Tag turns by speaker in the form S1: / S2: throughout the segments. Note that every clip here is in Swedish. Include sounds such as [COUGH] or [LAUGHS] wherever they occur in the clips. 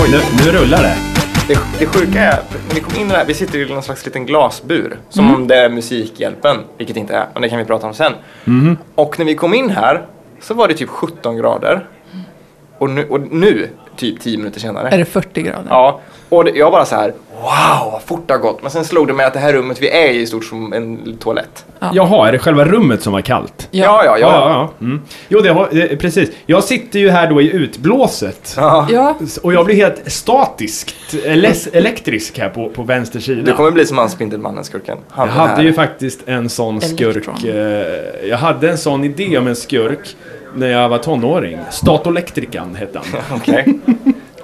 S1: Oj,
S2: Nu, nu rullar det.
S1: det, det sjuka är, vi kom in i det här, vi sitter i någon slags liten glasbur. Som
S2: Mm.
S1: om det är Musikhjälpen, vilket det inte är, men det kan vi prata om sen.
S2: Mm-hmm.
S1: Och när vi kom in här så var det typ 17 grader. Och nu, och nu typ 10 minuter senare.
S3: Är det 40 grader?
S1: Ja, och det, jag bara så här, wow vad fort det har gått. Men sen slog det mig att det här rummet vi är i är stort som en toalett.
S2: Jaha, är det själva rummet som var kallt?
S1: Ja, ja, ja.
S2: Ja, ja, ja. Mm. Jo, det har, eh, precis. Jag sitter ju här då i utblåset.
S1: Ja.
S3: Ja,
S2: Och jag blir helt statiskt eles- elektrisk här på, på vänster sida.
S1: Du kommer bli som han Spindelmannen-skurken. Han
S2: Jag
S1: är här.
S2: hade ju faktiskt en sån
S3: Elektron.
S2: skurk. eh, Jag hade en sån idé om en skurk när jag var tonåring. Statolektrikan hette
S1: [LAUGHS]
S2: han. [LAUGHS]
S1: Okej.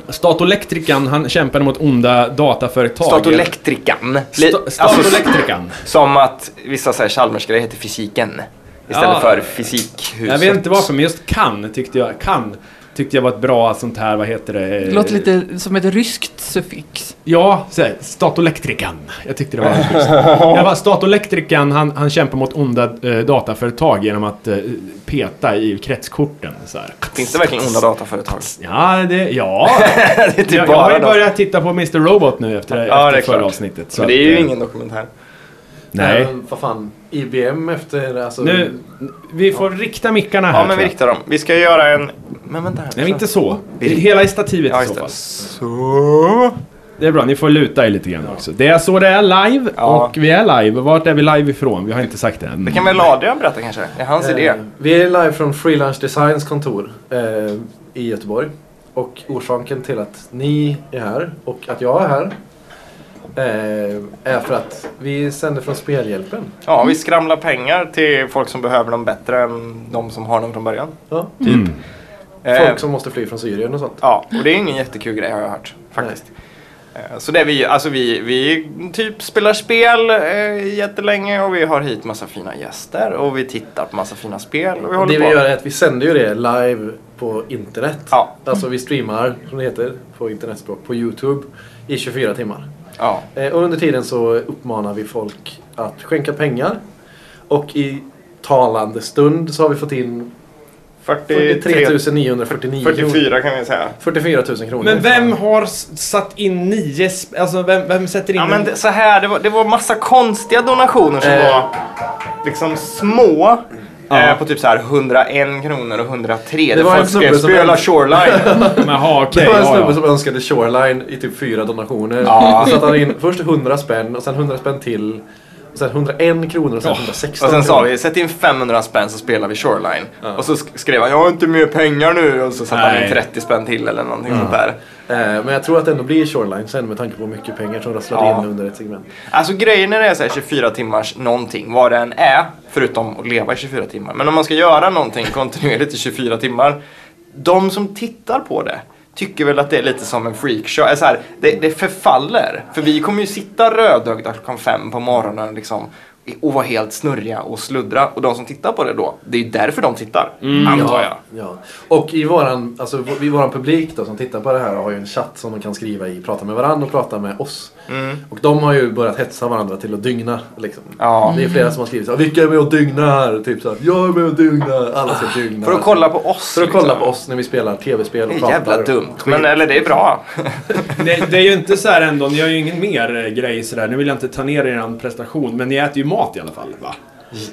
S2: Statolektrikan, han kämpade mot onda dataföretag.
S1: Statolektrikan. Li-
S2: Sta-
S1: alltså,
S2: Statolektrikan.
S1: som att vissa så här Chalmers-grejer heter fysiken. Istället
S2: Ja.
S1: för fysikhuset.
S2: Jag vet inte varför, men just kan tyckte jag, kan tyckte jag var ett bra sånt här, vad heter det?
S3: det
S2: Eh,
S3: låter lite som ett ryskt suffix.
S2: Ja, så här, statolektrikan. Jag tyckte det
S3: [LAUGHS]
S2: var schysst. Jag var statolektrikan, han, han kämpar mot onda eh, dataföretag genom att eh, peta i kretskorten. Så här.
S1: Finns det verkligen onda dataföretag?
S2: Ja, det, [LAUGHS] ja.
S1: [LAUGHS] det är typ
S2: jag, jag
S1: bara
S2: har ju
S1: data.
S2: börjat titta på Mr Robot nu efter,
S1: Ja, det
S2: efter
S1: är
S2: förra
S1: klart.
S2: avsnittet.
S1: Men det
S2: att,
S1: är ju
S2: eh,
S1: ingen dokumentär.
S2: Nej.
S4: Men vad fan, IBM efter alltså...
S2: Nu, vi får rikta mickarna
S1: Ja,
S2: här.
S1: men
S2: tror
S1: vi
S2: jag.
S1: riktar dem. Vi ska göra en... Men vänta här.
S2: Nej, inte så.
S1: Vi riktar-
S2: Hela i stativet
S1: Ja,
S2: i
S1: just
S2: så
S1: det.
S2: fall.
S1: Så...
S2: Det är bra, ni får luta er lite grann också. Det är så det är live
S1: Ja.
S2: och vi är live. Vart är vi live ifrån? Vi har inte sagt det än.
S1: Det kan väl Adrian berätta kanske? Det är hans idé.
S4: Eh, vi är live från Freelance Designs kontor eh, i Göteborg. Och orsaken till att ni är här och att jag är här eh, är för att vi sänder från Spelhjälpen.
S1: Ja, vi skramlar pengar till folk som behöver dem bättre än de som har dem från början.
S4: Ja.
S2: Mm.
S1: Eh,
S4: Folk som måste fly från Syrien och sånt.
S1: Ja, och det är ingen jättekul grej har jag hört faktiskt. Eh, Så det är vi, alltså vi, vi typ spelar spel eh, jättelänge och vi har hit massa fina gäster och vi tittar på massa fina spel och vi håller
S4: Det
S1: på.
S4: vi gör är att vi sänder ju det live på internet.
S1: Ja.
S4: Alltså vi streamar, som det heter på internetspråk, på Youtube i 24 timmar.
S1: Ja,
S4: Eh, Och under tiden så uppmanar vi folk att skänka pengar. Och i talande stund så har vi fått in 43
S1: 43
S4: 949 kronor.
S1: 44 kan vi säga.
S4: 44 000 kronor.
S2: Men vem har s- satt in nio... sp- Alltså vem, vem sätter in...
S1: Ja
S2: en-
S1: men det, så här, det var, det var massa konstiga donationer som
S4: Eh.
S1: var liksom små.
S2: Ja.
S1: Eh, på typ så här 101 kronor och 103.
S4: Det var
S1: folk
S4: en snubbe
S1: skrev,
S4: som-
S1: Spela
S4: [LAUGHS]
S1: Shoreline. [LAUGHS]
S2: Jaha, okej.
S4: Det var en
S2: ja,
S4: snubbe
S2: ja.
S4: som önskade Shoreline i typ fyra donationer.
S1: Ja.
S4: Då satte han in först 100 spänn och sen 100 spänn till. Och sen 101 kronor och sen 116
S1: Och sen sa
S4: kronor.
S1: vi, sätt in 500 spänn så spelar vi Shoreline. Och så sk- skrev han, jag har inte mer pengar nu. Och så satte han in
S2: Nej.
S1: 30 spänn till eller någonting sånt där.
S4: Eh, Men jag tror att det ändå blir Shoreline sen med tanke på hur mycket pengar som rasslade
S1: Ja.
S4: in under ett segment.
S1: Alltså grejen när det är så här 24 timmars någonting, vad det än är, förutom att leva i 24 timmar. Men om man ska göra någonting kontinuerligt i 24 timmar, de som tittar på det tycker väl att det är lite som en freakshow. Äh, så här, det, det förfaller. För vi kommer ju sitta rödögda klockan fem på morgonen liksom, och vara helt snurriga och sluddra. Och de som tittar på det då, det är ju därför de tittar. Antar jag.
S4: Ja. Och i våran, alltså, v- i våran publik då, som tittar på det här har ju en chatt som de kan skriva i, prata med varandra och prata med oss.
S1: Mm.
S4: Och de har ju börjat hetsa varandra till att dygna. Liksom.
S1: Ja.
S4: Det är flera som har skrivit så här, vilka är med och dygnar? Typ så här, jag är med och dygnar, alla ska dygna.
S1: För att kolla på oss.
S4: För att kolla
S1: liksom.
S4: på oss när vi spelar tv-spel
S1: Det
S4: och
S1: är
S4: pratar.
S1: jävla dumt. Men eller det är bra.
S2: Det, det är ju inte så här ändå, ni har ju ingen mer eh, grej sådär. Nu vill jag inte ta ner er prestation, men ni äter ju mat i alla fall, va?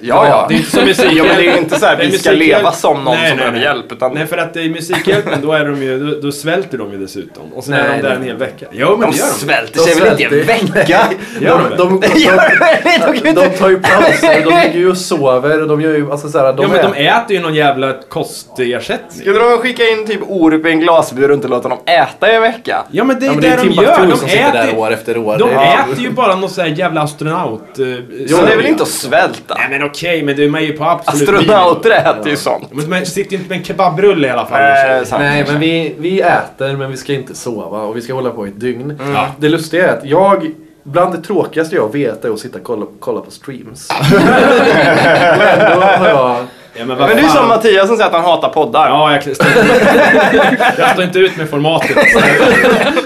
S1: Ja, ja.
S2: Det är inte som musikhjälp.
S1: ja men det är ju inte så här,
S2: Nej,
S1: vi ska
S2: musikhjälp-
S1: leva som någon
S2: Nej,
S1: som
S2: nej,
S1: behöver
S2: nej.
S1: hjälp. Utan
S2: Nej, för att i Musikhjälpen då, är de ju, då, då svälter de ju dessutom. Och sen
S4: Nej,
S2: är de där
S4: nej.
S2: en hel vecka. Jo, men
S1: de
S2: det gör de.
S1: svälter
S4: De
S1: sig väl inte i en
S4: svälter.
S1: vecka?
S4: De,
S2: Gör [LAUGHS] de?
S4: de, de,
S1: [LAUGHS] Det gör de väl inte? De kan ju
S4: de,
S1: inte-
S4: tar ju pauser, de ligger ju och sover. De gör ju, alltså så här, de
S2: ja, men
S4: är-
S2: de äter ju någon jävla kostersättning.
S1: Skulle de skicka in typ Orup i en glasbur och inte låta dem äta i en vecka?
S2: Ja, men det är
S4: Ja, men
S2: det,
S4: det är
S2: de gör.
S4: Timbuktu
S2: De
S4: som sitter där
S2: äter,
S4: år efter år.
S2: de
S4: Det är-
S2: äter ju bara någon sån här jävla astronaut... eh,
S1: Jo, det är väl
S2: sallad.
S1: inte att svälta?
S2: Nej, men okej, men du är med ju på absolut
S1: Astronauter äter ju sånt.
S2: minimum. Men man sitter ju inte med en kebabrulle i alla fall.
S1: Eh, sant.
S4: Nej, men vi, vi äter men vi ska inte sova och vi ska hålla på i ett dygn.
S2: Ja.
S4: Det lustiga är att jag, bland det [LAUGHS] tråkigaste jag vet är att sitta och kolla, kolla på streams. och ändå har jag
S2: Ja, men vad
S1: Men det är ju
S2: fan.
S1: som Mattias som säger att han hatar poddar.
S2: Ja, jag, står- [LAUGHS] jag står inte ut med formatet.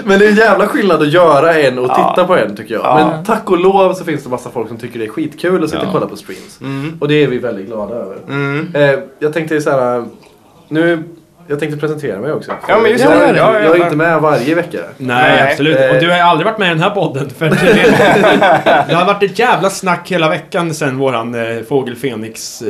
S4: Men det är en jävla skillnad att göra en och
S1: Ja.
S4: titta på en tycker jag.
S1: Ja.
S4: Men tack och lov så finns det massa folk som tycker det är skitkul att sitta
S2: Ja.
S4: och kolla på streams.
S1: Mm.
S4: Och det är vi väldigt glada över.
S1: Mm.
S4: Eh, jag tänkte så här. Nu, jag tänkte presentera mig också.
S1: Ja, men just
S4: jag,
S1: det.
S4: jag,
S1: Ja, ja,
S4: jag är
S1: ja.
S4: inte med varje vecka.
S2: Nej,
S1: Nej.
S2: absolut.
S4: Eh.
S2: Och du har ju aldrig varit med i den här podden. För det,
S1: [LAUGHS]
S2: är- det har varit ett jävla snack hela veckan sen våran eh, Fågel Fenix eh,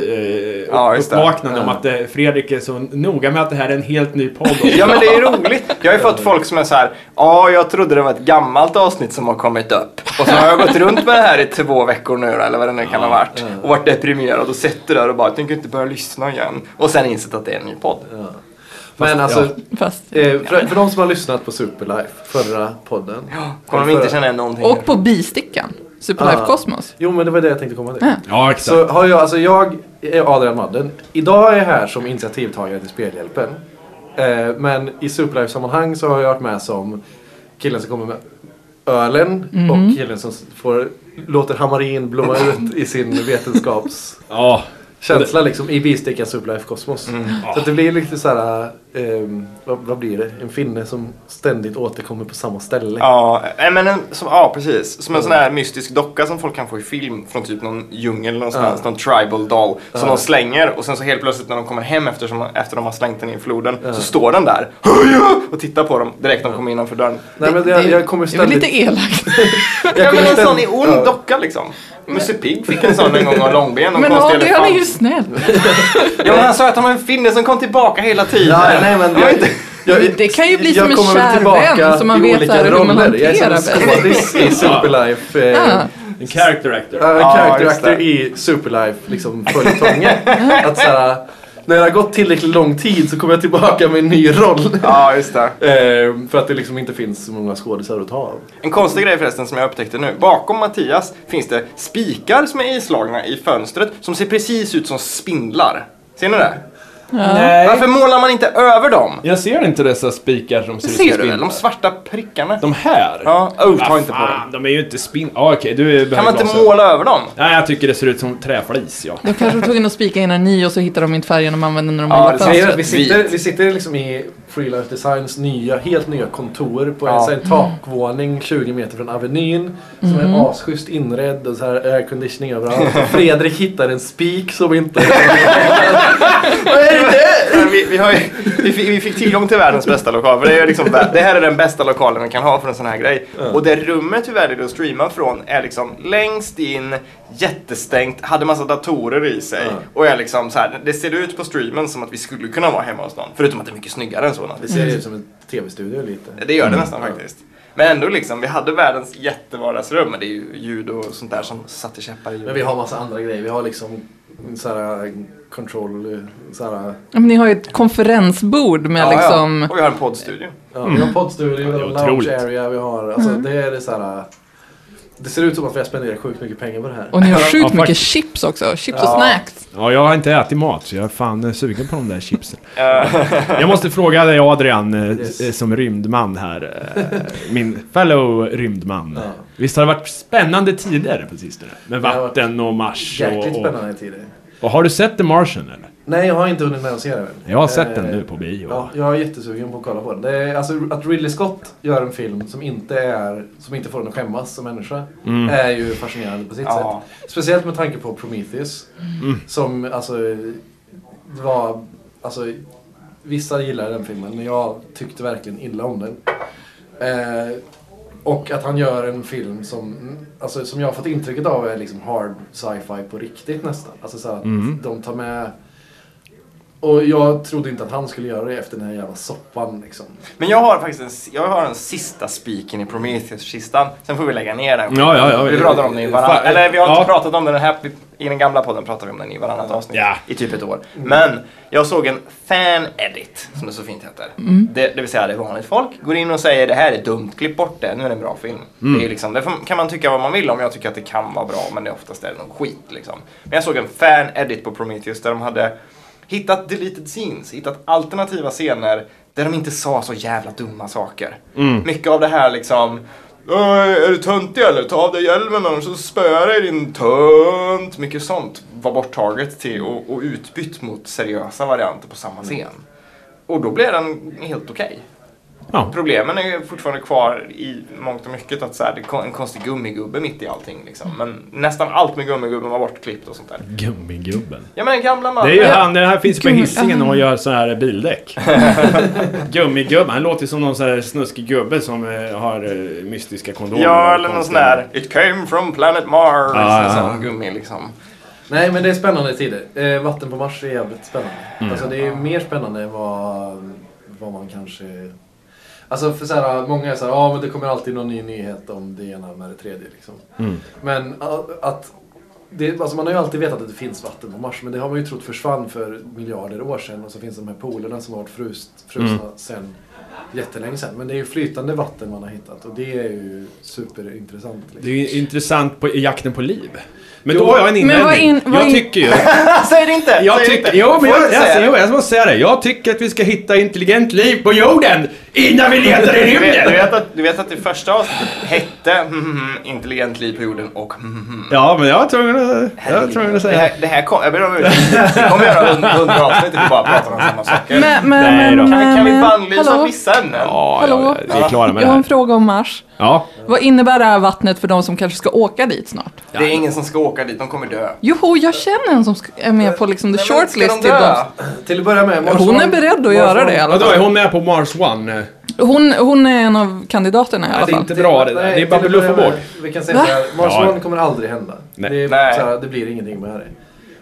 S1: Ja, just det.
S2: uppvaknande om att eh, Fredrik är så noga med att det här är en helt ny podd.
S1: [LAUGHS] Ja men det är ju roligt. Jag har ju fått folk som är så här. ja jag trodde det var ett gammalt avsnitt som har kommit upp. Och så har jag gått runt med det här i två veckor nu eller vad det nu kan ha varit. Och varit deprimerad och sett det där och bara, jag tänker inte börja lyssna igen. Och sen insett att det är en ny podd.
S4: Men alltså,
S3: Fast,
S4: eh, för, för de som har lyssnat på Superlife, förra podden.
S1: Kommer de inte känna igen någonting?
S3: och på bistickan. Superlife
S4: Ah.
S3: Kosmos.
S4: Jo men det var det jag tänkte komma till.
S3: Ja.
S2: Ja, exakt.
S4: Så har jag, alltså jag är Adrian Madden. Idag är jag här som initiativtagare till Spelhjälpen. Eh, men i Superlife-sammanhang så har jag varit med som killen som kommer med ölen och killen som får, låter hamarin blomma ut i sin
S1: [LAUGHS]
S4: vetenskapskänsla
S2: Ja.
S4: liksom i bistickan Superlife Kosmos.
S1: Mm.
S4: Så att det blir lite så här, ehm, vad, vad blir det? En finne som ständigt återkommer på samma ställe.
S1: Ja, nej, men en, som, ja, precis. Som en sån här mystisk docka som folk kan få i film från typ någon djungel någonstans, någon tribal doll. Som de slänger och sen så helt plötsligt när de kommer hem efter, som, efter de har slängt den i floden så står den där [LAUGHS] "Höja!" och tittar på dem direkt när de kommer innanför dörren.
S4: Nej men jag, jag kommer
S3: det är väl
S4: ständigt...
S3: lite elakt.
S1: Ja men
S4: kommer
S1: en sån i
S4: ständigt-
S1: ond
S4: ja.
S1: docka liksom. Musse Pigg fick en sån en gång av långben och
S3: Men
S1: konstig
S3: Adrian är
S1: elefant.
S3: ju snäll.
S1: Ja men han sa att han var en finne som kom tillbaka hela tiden.
S4: Ja, nej, men
S1: Ja,
S4: jag,
S1: inte-
S4: jag,
S3: Det kan ju bli
S4: jag
S3: som en
S4: kommer väl
S3: kär
S4: tillbaka
S3: vän som man
S4: i
S3: vet
S4: olika
S3: här hur man
S4: roller. Jag är som
S3: hanterar
S4: en
S3: [LAUGHS]
S4: skådis i Superlife. Eh,
S3: Ja.
S2: En character actor.
S4: en
S1: Ja,
S4: character
S1: just
S4: actor
S1: det.
S4: i Superlife liksom
S3: [LAUGHS]
S4: följetongen. att såhär, när det har gått tillräckligt lång tid så kommer jag tillbaka med en ny roll.
S1: Ja, just det.
S4: [LAUGHS] Eh, för att det liksom inte finns så många skådisar att ta av.
S1: En konstig grej förresten som jag upptäckte nu. Bakom Mattias finns det spikar som är islagna i fönstret som ser precis ut som spindlar. Ser ni det?
S2: Nej.
S1: Varför målar man inte över dem?
S5: Jag ser inte dessa spikar som ser ut som
S1: Ser du väl? De
S5: spindlar.
S1: svarta prickarna.
S5: De här?
S1: Ja, oh, ta
S2: Vad
S1: inte på dem.
S2: fan, De är ju inte spin... Ja, okej, du behöver
S1: Kan man inte
S2: glasögon.
S1: måla över dem?
S2: Nej, jag tycker det ser ut som träflis, ja.
S3: De kanske tog in och spikade innan ni och så hittade de inte färgen de använde när de
S1: Ja,
S3: målade
S1: det
S4: Så
S1: ser
S3: fönstret.
S1: jag.
S4: Alltså, vi, sitter, vi sitter liksom i Freelance Designs nya, helt nya kontor på
S1: Ja.
S4: en, så här, takvåning 20 meter från Avenyn. Som
S2: Mm.
S4: är asschysst inredd och så här airconditioning överallt. Och Fredrik hittar en spik som inte...
S2: [LAUGHS]
S4: Vad är det där?
S1: Men Vi, vi, har ju, vi, fick, vi fick tillgång till världens bästa lokal. För det, är ju liksom, vä- det här är den bästa lokalen vi kan ha för en sån här grej. Och det rummet vi väljer att streama från är liksom längst in, jättestängt, hade massa datorer i sig.
S4: Ja.
S1: Och är liksom så här, det ser ut på streamen som att vi skulle kunna vara hemma hos någon. Förutom att det är mycket snyggare än så
S4: Det
S1: naturligtvis.
S4: ser ut som en tv-studio lite.
S1: Det gör det nästan faktiskt. Men ändå liksom, vi hade världens jättevardagsrum. Men det är ju ljud och sånt där som satte käppar i
S4: Men vi har massa andra grejer. Vi har liksom så här eh, control... Så här,
S3: Ja, men ni har ju ett konferensbord med
S1: Ja, ja.
S3: liksom...
S1: Och vi har en poddstudio.
S4: ja, Vi har poddstudio, vi
S2: Mm. det är
S4: har lounge
S2: otroligt. Mm.
S4: area, vi har... Alltså det är det så här... Det ser ut som att vi har spenderat sjukt mycket pengar på det här.
S3: Och ni har sjukt
S2: Ja,
S3: mycket
S2: faktiskt.
S3: chips också. Chips
S1: Ja.
S3: och snacks.
S2: Ja, jag har inte ätit mat, så jag är fan eh, sugen på de där chipsen. jag måste fråga dig Adrian, eh,
S4: Yes.
S2: eh, som rymdman här. eh, Min fellow rymdman.
S4: Ja.
S2: Visst har det varit spännande tider på sistone? Med
S4: Det har
S2: vatten och Mars och,
S4: Jäkligt
S2: och,
S4: spännande tider.
S2: och... Har du sett The Martian eller?
S4: Nej, jag har inte hunnit med att se den.
S2: Jag har sett den
S4: Eh,
S2: nu på bio.
S4: Ja, jag är jättesugen på att kolla på den. Det är, alltså, att Ridley Scott gör en film som inte, är, som inte får en att skämmas som människa
S2: Mm.
S4: är ju fascinerande på sitt
S1: Ja.
S4: sätt. Speciellt med tanke på Prometheus. Som alltså, det var, alltså, vissa gillar den filmen men jag tyckte verkligen illa om den. Eh, och att han gör en film som, alltså, som jag har fått intrycket av är liksom hard sci-fi på riktigt nästan. Alltså så att de tar med... Och jag trodde inte att han skulle göra det efter den här jävla soppan liksom.
S1: Men jag har faktiskt en, jag har den sista spiken i Prometheus-kistan. Sen får vi lägga ner den.
S2: Ja, ja, ja.
S1: vi pratar om den i
S2: Fan,
S1: varannat.
S2: eh,
S1: Eller vi har inte
S2: ja.
S1: pratat om den här. I den gamla podden pratar vi om den i varannat avsnitt.
S2: Ja.
S1: I typ ett år. Men jag såg en fan-edit, som det så fint heter.
S2: Mm.
S1: Det, det vill säga, det är vanligt folk går in och säger det här är dumt, klipp bort det, nu är det en bra film.
S2: Mm.
S1: Det är liksom, det får- kan man tycka vad man vill om. Jag tycker att det kan vara bra, men det är oftast är det nog skit. Liksom. Men jag såg en fan-edit på Prometheus där de hade hittat deleted scenes, hittat
S2: Mm.
S1: alternativa scener där de inte sa så jävla dumma saker. Mycket av det här liksom "Äh, Är du töntig eller? Ta av dig hjälmen annars så spöar jag dig, din tönt. Mycket sånt var borttaget till och, och utbytt mot seriösa varianter på
S2: Mm.
S1: samma scen. Och då blev den helt okej.
S2: Ja.
S1: Problemen är ju fortfarande kvar i mångt och mycket att så här, det kom en konstig gummigubbe mitt i allting liksom. Men nästan allt med gummigubben var bortklippt och sånt där.
S2: Gummigubben.
S1: Ja men den gamla mannen.
S2: Det är ju han, det här finns på Hisingen och gör så här
S1: [LAUGHS]
S2: bildäck. Gummigubben, han låter ju som någon så här snuskig gubbe som eh, har eh, mystiska kondomer.
S1: Ja
S2: och
S1: eller någon sån
S2: konstiga-
S1: där It came from planet Mars.
S2: Ja,
S1: en
S2: ja,
S1: sån
S2: ja.
S1: gummi liksom.
S4: Nej, men det är spännande tider. Eh, vatten på Mars är jävligt spännande.
S3: Mm.
S4: Alltså det är mer spännande än vad, vad man kanske... Alltså för så här, många är så här, ja ah, men det kommer alltid någon ny nyhet om det ena med det tredje liksom.
S3: Mm.
S4: Men a- att... Det, alltså man har ju alltid vetat att det finns vatten på Mars, men det har man ju trott försvann för miljarder år sedan. Och så finns de här polerna som har varit frust, frusna
S3: Mm.
S4: sedan jättelänge sedan. Men det är ju flytande vatten man har hittat och det är ju superintressant. Liksom.
S2: Det är ju intressant på, i jakten på liv. Men då
S4: Jo.
S2: har jag en
S3: Men vad
S2: invändning.
S3: in- vad
S2: jag
S3: in-
S2: tycker ju...
S1: Säg det inte!
S2: Jag
S1: säg det
S2: tycker...
S1: inte.
S2: Jo, men
S1: Får
S2: jag,
S1: säga
S2: jag,
S1: det?
S2: jo, jag måste säga det. Jag tycker att vi ska hitta intelligent liv på jorden innan vi letar i
S1: Du vet, du, [LAUGHS]
S2: rymden.
S1: vet att, du vet att det första avsnittet hette mm, mm, intelligent liv på jorden och mm, mm.
S2: Ja, men jag tror att... Jag tror att
S1: det
S2: säga...
S1: här, det här kom, jag ber om ursäkt. Vi kommer göra hund- hundra avsnitt där vi bara pratar om samma saker.
S3: Men, men,
S2: Nej då.
S3: men,
S1: kan vi, kan vi
S3: men-
S1: bannlysa
S3: Eh, hallå?
S1: vissa ämnen?
S2: Ja, ja,
S3: Hallå?
S2: ja, vi är klara med
S3: Jag
S2: det
S3: har en
S2: här.
S3: fråga om Mars.
S2: Ja.
S3: Vad innebär det här vattnet för de som kanske ska åka dit snart?
S1: Det är ingen som ska åka dit, de kommer dö.
S3: Joho, jag känner en som ska- är med på liksom the
S1: Nej, men ska de
S3: shortlist till
S1: dö?
S3: dem.
S4: Till att börja med, Mars
S3: Hon är
S4: One-
S3: beredd att
S4: Mars
S3: göra
S4: One-
S3: det i alla
S2: Vadå, är
S3: fall.
S2: hon med på Mars One?
S3: Hon, hon är en av kandidaterna i alla
S2: det är
S3: fall.
S2: inte bra det där. Det är bara
S4: till att
S2: bluff och
S4: börja med,
S2: båg.
S4: Vi kan säga
S3: Va?
S4: så här, Mars
S2: Ja.
S4: One kommer aldrig hända.
S2: Nej.
S4: Det, är
S1: Nej.
S4: Så här, det blir ingenting med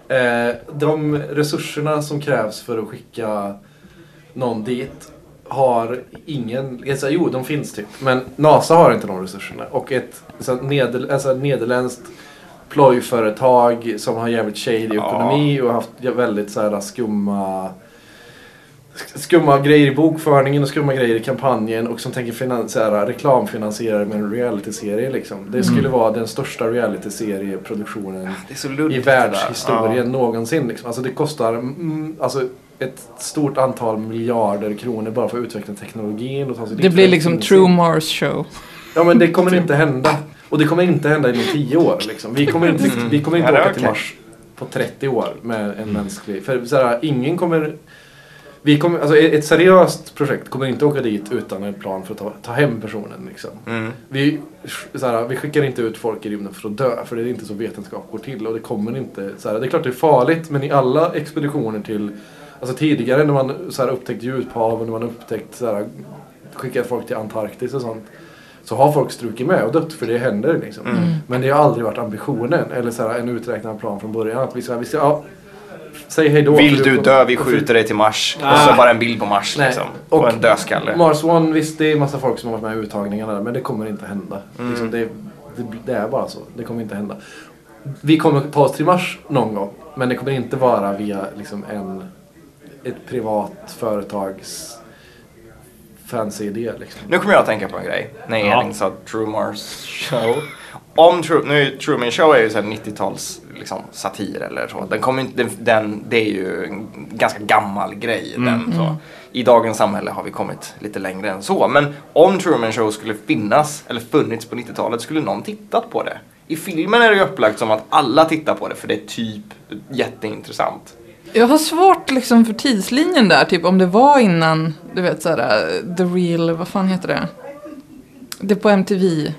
S4: det. Eh, de resurserna som krävs för att skicka någon dit har ingen, alltså, jo de finns typ, men NASA har inte de resurserna. Och ett så här, neder, alltså, nederländskt plojföretag som har jävligt shady ekonomi och haft väldigt så här, skumma skumma grejer i bokföringen och skumma grejer i kampanjen och som tänker finan- så här, reklamfinansiera det med en realityserie liksom.
S3: Mm.
S4: Det skulle vara den största realityserieproduktionen
S1: Det är så
S4: i
S1: luddigt. det där.
S4: världshistorien någonsin. Liksom. Alltså det kostar mm, alltså, ett stort antal miljarder kronor bara för att utveckla teknologin. Och ta sig
S3: Det
S4: dit.
S3: blir liksom True Mars show.
S4: Ja men det kommer inte hända. Och det kommer inte hända inom 10 år. Liksom. Vi kommer inte, vi kommer inte
S1: Mm. Ja, det är
S4: åka till
S1: okej.
S4: Mars på 30 år med en mänsklig... För så här, ingen kommer... Vi kommer, alltså ett seriöst projekt kommer inte åka dit utan en plan för att ta, ta hem personen. Liksom.
S1: Ja. Mm.
S4: Vi, så här, vi skickar inte ut folk i rymden för att dö, för det är inte så vetenskap går till. Och det kommer inte... Så här, det är klart det är farligt, men i alla expeditioner till... Alltså tidigare när man så här, upptäckt djuphav och när man upptäckt så här, skickat folk till Antarktis och sånt. Så har folk strukit med och dött, för det händer liksom.
S1: Mm.
S4: Men det har aldrig varit ambitionen, eller så här, en uträknad plan från början. Att vi ska, vi ska, ja, säg hej då.
S1: Vill
S4: för
S1: du
S4: kommer-
S1: dö? Vi skjuter dig till Mars. Och så bara en bild på Mars
S4: Nej.
S1: liksom. Och
S4: Och-
S1: en dödskalle.
S4: Mars One, visst det är massa folk som har varit med i uttagningarna där, men det kommer inte hända.
S1: Mm.
S4: Liksom, det, det, det är bara så. Det kommer inte hända. Vi kommer ta oss till Mars någon gång, men det kommer inte vara via liksom, en, ett privat företags fancy idé. Liksom.
S1: Nu kommer jag att tänka på en grej. När
S2: Ja.
S1: Elin sa True Mars show. Om True, nu, True Mars show är ju så här 90-tals liksom, satir eller så. Den kommer inte, den, den, det är ju en ganska gammal grej. Den, så. I dagens samhälle har vi kommit lite längre än så. Men om True Mars show skulle finnas eller funnits på 90-talet skulle någon tittat på det. I filmen är det ju upplagt som att alla tittar på det för det är typ jätteintressant.
S3: Jag har svårt liksom för tidslinjen där, typ om det var innan, du vet såhär, the real, vad fan heter det? Det är på MTV.
S1: Eh,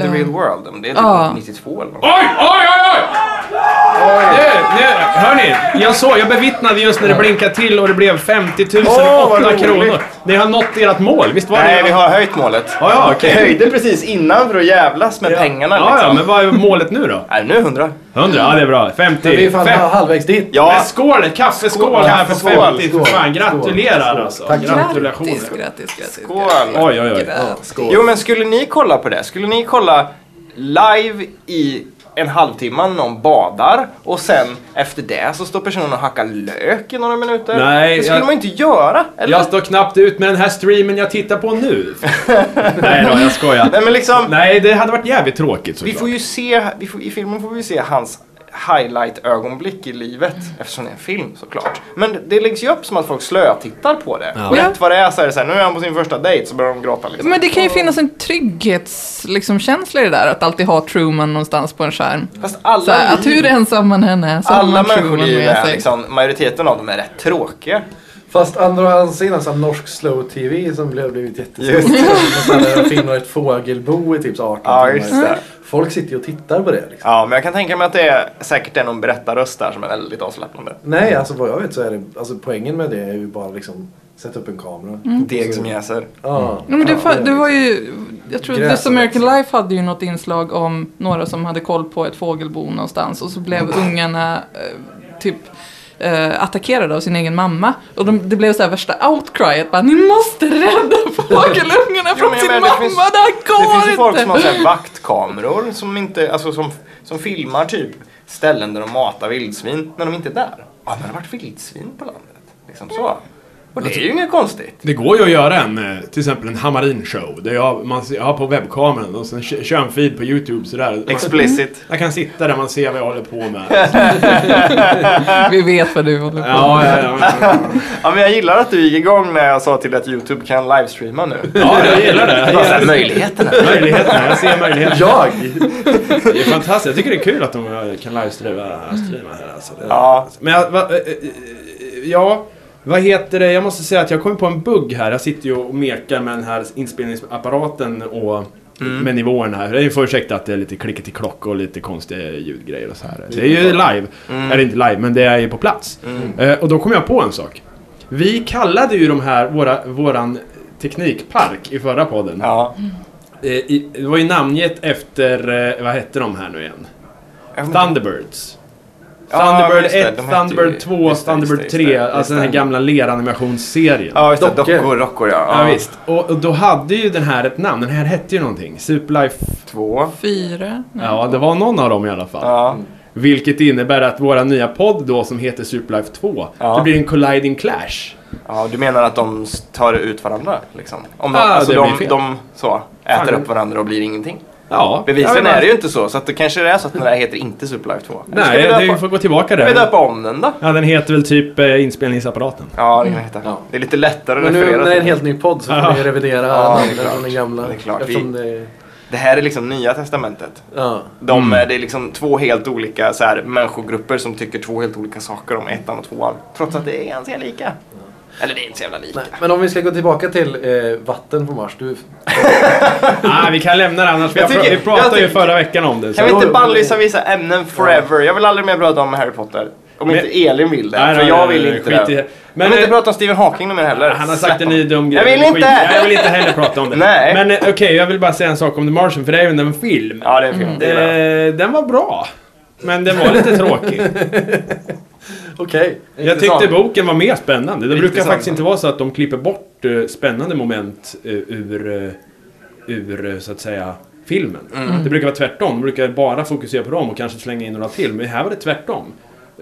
S1: the real world, det är typ
S3: Ja.
S1: 92 eller något.
S2: Oj, oj, oj, oj! Nu, nu, hörni, jag såg, jag bevittnade just när det blinkade till och det blev 50 000
S1: Åh, vad
S2: 800
S1: roligt.
S2: kronor. Ni har nått ert mål, visst var det?
S1: Nej, vi har höjt målet.
S2: Ja, ja, okej.
S1: Vi höjde precis innan för att jävlas med pengarna
S2: Ja,
S1: liksom.
S2: ja, men vad är målet nu då?
S1: Nej, nu är 100.
S2: 100, ja det är bra. 50.
S4: Men vi är fan
S2: Fem-
S4: halvvägs dit.
S2: Men
S1: Ja,
S2: skål, kaffeskål
S1: Skål,
S2: här för
S1: kaffeskål.
S2: 50 för fan. Gratulerar
S4: Skål.
S2: alltså.
S4: Tack.
S2: Gratulationer.
S3: Grattis, grattis, grattis.
S1: Skål.
S3: grattis.
S2: Oj, oj, oj.
S3: Grattis.
S1: jo men skulle ni kolla på det? Skulle ni kolla live i en halvtimme när någon badar och sen efter det så står personen och hackar lök i några minuter?
S2: Nej,
S1: det skulle
S2: jag-
S1: man inte göra. Eller?
S2: Jag står knappt ut med den här streamen jag tittar på nu. Nej då, jag skojar.
S1: Nej men liksom,
S2: Nej, det hade varit jävligt tråkigt
S1: vi
S2: såklart.
S1: får ju se, vi får, i filmen får vi se hans highlight-ögonblick i livet.
S3: Mm.
S1: Eftersom det är en film såklart. Men det läggs ju upp som att folk slötittar på det.
S2: Ja.
S1: Och rätt vad det är så är det så här, nu är han på sin första dejt så börjar de gråta liksom.
S3: Men det kan ju finnas en trygghetskänsla liksom, känsla i det där, att alltid ha Truman någonstans på en skärm.
S1: Fast
S3: Så
S1: alla,
S3: här, att hur ensam man än är så har
S1: alla
S3: man Truman
S1: människor i
S3: med
S1: är
S3: sig.
S1: liksom, majoriteten av dem är rätt tråkiga.
S4: Fast andra andra sidan så här norsk slow-tv som blev blivit jättestort.
S1: Just det.
S4: [LAUGHS] Som man finner ett fågelbo i typ så 18
S1: Ja, just det.
S4: Folk sitter ju och tittar på det. Liksom.
S1: Ja, men jag kan tänka mig att det är säkert är någon berättarröst där som är väldigt avslappnande.
S4: Nej, alltså vad jag vet så är det, alltså poängen med det är ju bara liksom sätta upp en kamera. Ah.
S1: Deg som jäser.
S4: Ja.
S3: Mm. Ja, men det, fa- det var
S4: ju...
S3: ju, jag tror
S4: Gräs
S3: This
S4: och
S3: American
S4: växter.
S3: Life hade ju något inslag om några som hade koll på ett fågelbo någonstans och så blev ungarna eh, typ eh, attackerade av sin egen mamma. Och de, det blev så här värsta outcry att bara, ni måste [LAUGHS] rädda fågelungarna
S1: Jo,
S3: från
S1: men jag
S3: sin
S1: menar, det
S3: mamma,
S1: finns-
S3: det här
S1: Det finns
S3: går
S1: ju folk som har
S3: inte!
S1: så här vaktkameror som, inte, alltså, som, som filmar typ ställen där de matar vildsvin när de inte är där. Ja, men det har varit vildsvin på landet. Liksom så. Och det är ju inget konstigt.
S2: Det går ju att göra en, eh, till exempel en Hamarin-show. Där jag, man, ser- jag har på webbkameran och sen kö- kör en feed på YouTube sådär. Man, Mm.
S1: Explicit.
S2: jag kan sitta där man ser vad jag håller
S1: [LAUGHS]
S2: på med.
S3: [LAUGHS] Vi vet vad du håller på med.
S2: Ja, ja, ja, ja.
S1: Ja, men jag gillar att du gick igång när jag sa till att YouTube kan livestreama nu.
S2: ja jag gillar det. Jag
S1: Det var så här,
S2: gillar
S1: möjligheterna.
S2: möjligheterna. Jag ser möjligheterna.
S4: [LAUGHS] Jag?
S2: Det är fantastiskt. Jag tycker det är kul att de kan livestreama streama här alltså. Det-
S1: Ja.
S2: Men jag, va, eh, eh, eh, ja, vad heter det? Jag måste säga att jag kom på en bugg här. Jag sitter ju och mekar med den här inspelningsapparaten och med nivåerna här. Det är ju för ursäkta att det är lite klicket i klock och lite konstiga ljudgrejer och så här. Det är ju live. Eller inte live, men det är ju på plats. Eh, och då kom jag på en sak. Vi kallade ju de här, våra, våran teknikpark i förra podden.
S1: Ja.
S2: Eh, i, det var ju namnet efter, eh, vad hette de här nu igen?
S1: Jag kommer inte-
S2: Thunderbirds.
S1: Ja,
S2: Thunderbird
S1: just det,
S2: 1,
S1: de hette ju-
S2: Thunderbird 2,
S1: just det,
S2: Thunderbird
S1: just det,
S2: 3.
S1: just det.
S2: alltså den här gamla leranimationsserien.
S1: Ja, just det.
S4: Dockor.
S1: Dockor, rockor ja.
S2: Ja, visst. Och, och då hade ju den här ett namn. Den här hette ju någonting. Superlife.
S1: Två.
S3: Fyra? Nej.
S2: Ja, det var någon av dem i alla fall.
S1: Ja.
S2: Vilket innebär att våra nya podd då som heter Superlife 2.
S1: Ja.
S2: Det blir en colliding clash.
S1: ja, du menar att de s- tar ut varandra liksom? Om de,
S2: Ah,
S1: alltså,
S2: det blir
S1: de,
S2: fel.
S1: de så, äter
S2: Fan.
S1: upp varandra och blir ingenting?
S2: Ja.
S1: Bevisligen
S2: Ja, men-
S1: är det ju inte så, så att det kanske är så att den där heter inte Superlife 2. Eller ska
S2: Nej,
S1: vi
S2: det,
S1: döpa-
S2: vi får gå tillbaka
S1: Ska vi
S2: där.
S1: döpa om den då?
S2: Ja, den heter väl typ eh,
S1: [LAUGHS]
S2: inspelningsapparaten.
S1: Ja, det kan vi heta.
S4: Ja.
S1: Det är lite lättare att
S4: Men nu när
S1: referera
S4: det är en
S1: till.
S4: helt ny podd så får vi revidera
S1: Ja, det är
S4: namnen
S1: klart.
S4: från den gamla.
S1: Det är klart.
S4: Eftersom
S1: Vi-
S4: det,
S1: Det här är liksom Nya Testamentet.
S4: ja.
S1: De,
S2: Mm.
S1: Det är liksom två helt olika så här, människogrupper som tycker två helt olika saker om ettan och tvåan. Trots att det är ganska lika. Eller det är inte så jävla lika.
S4: Nej. Men om vi ska gå tillbaka till eh, vatten på Mars. Du,
S2: Nej, vi kan lämna det annars. Vi,
S1: Jag
S2: har pra-
S1: tycker-
S2: vi pratade
S1: jag
S2: ju
S1: tycker-
S2: förra veckan om det. så-
S1: Kan vi inte bannlysa vissa ämnen forever? Jag vill aldrig mer prata om Harry Potter. Om
S2: Men-
S1: inte Elin vill det.
S2: Nej,
S1: för
S2: nej,
S1: jag
S2: nej,
S1: vill
S2: nej,
S1: inte
S2: skit
S1: det.
S2: i det.
S1: Jag
S2: Men,
S1: vill inte
S2: eh,
S1: prata om Stephen Hawking mer heller.
S2: Han har
S1: Släpp
S2: sagt en ny
S1: honom.
S2: dum grej.
S1: Jag vill
S2: Skit.
S1: inte!
S2: Jag vill inte heller prata om det.
S1: Nej.
S2: Men eh, okej, jag vill bara säga en sak om The Martian, för det är ju en film.
S1: Ja, det är en film. Det är bra.
S2: Eh, den var bra. Men den var
S1: [LAUGHS]
S2: lite tråkig.
S4: okej.
S2: Jag tyckte
S1: Intressant.
S2: boken var mer spännande. Det brukar
S1: Intressant.
S2: faktiskt inte vara så att de klipper bort eh, spännande moment eh, ur, eh, ur eh, så att säga, filmen.
S1: Mm.
S2: Det brukar vara tvärtom. De brukar bara fokusera på dem och kanske slänga in några till. Men här var det tvärtom.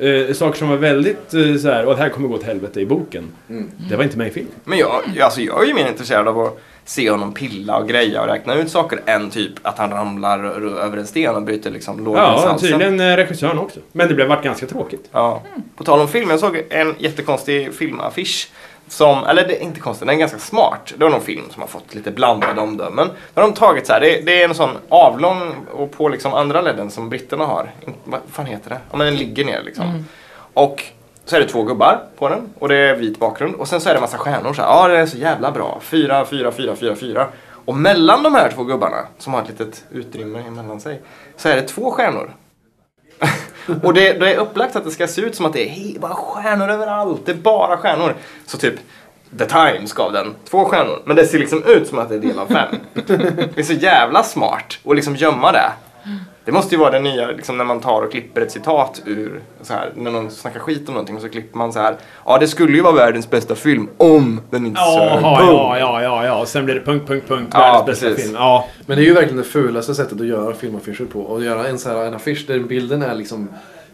S2: Eh, saker som var väldigt eh, så här, och det här kommer gå åt helvete i boken.
S1: Mm.
S2: Det var inte med i filmen.
S1: Men jag, jag- alltså jag är ju mer intresserad av att se honom pilla och greja och räkna ut saker än typ att han ramlar ö- ö- över en sten och bryter liksom
S2: Ja,
S1: lårbenshalsen.
S2: tydligen eh, regissören också. Men det blev varit ganska tråkigt.
S1: Ja. Mm. På tal om film, jag såg en jättekonstig filmaffisch. Som, eller det är inte konstigt, den är ganska smart. Det var någon film som har fått lite blandade omdömen. Då har de tagit så här, det, det är en sån avlång och på liksom andra ledden som britterna har. In- Vad fan heter det? Ja men den ligger ner liksom. Och så är det två gubbar på den och det är vit bakgrund. Och sen så är det massa stjärnor så här, ja det är så jävla bra. Fyra, fyra, fyra, fyra, fyra. Och mellan de här två gubbarna, som har ett litet utrymme emellan sig, så är det två stjärnor. [LAUGHS] Och det, det är upplagt att det ska se ut som att det är he- bara stjärnor överallt. Det är bara stjärnor. Så typ The Times gav den två stjärnor. Men det ser liksom ut som att det är del av fem. Det är så jävla smart att liksom gömma det. Det måste ju vara det nya liksom, när man tar och klipper ett citat ur, så här, när någon snackar skit om någonting och så klipper man så här. Ja, det skulle ju vara världens bästa film om den inte
S2: Ja,
S1: sög." Boom.
S2: ja, ja, ja, ja. Och sen blev det punkt, punkt, punkt.
S1: Ja,
S2: Världens bästa
S1: precis.
S2: film. Ja,
S4: Men det är ju verkligen det fulaste sättet att göra filmaffischer på. Och göra en, så här, en affisch där bilden är liksom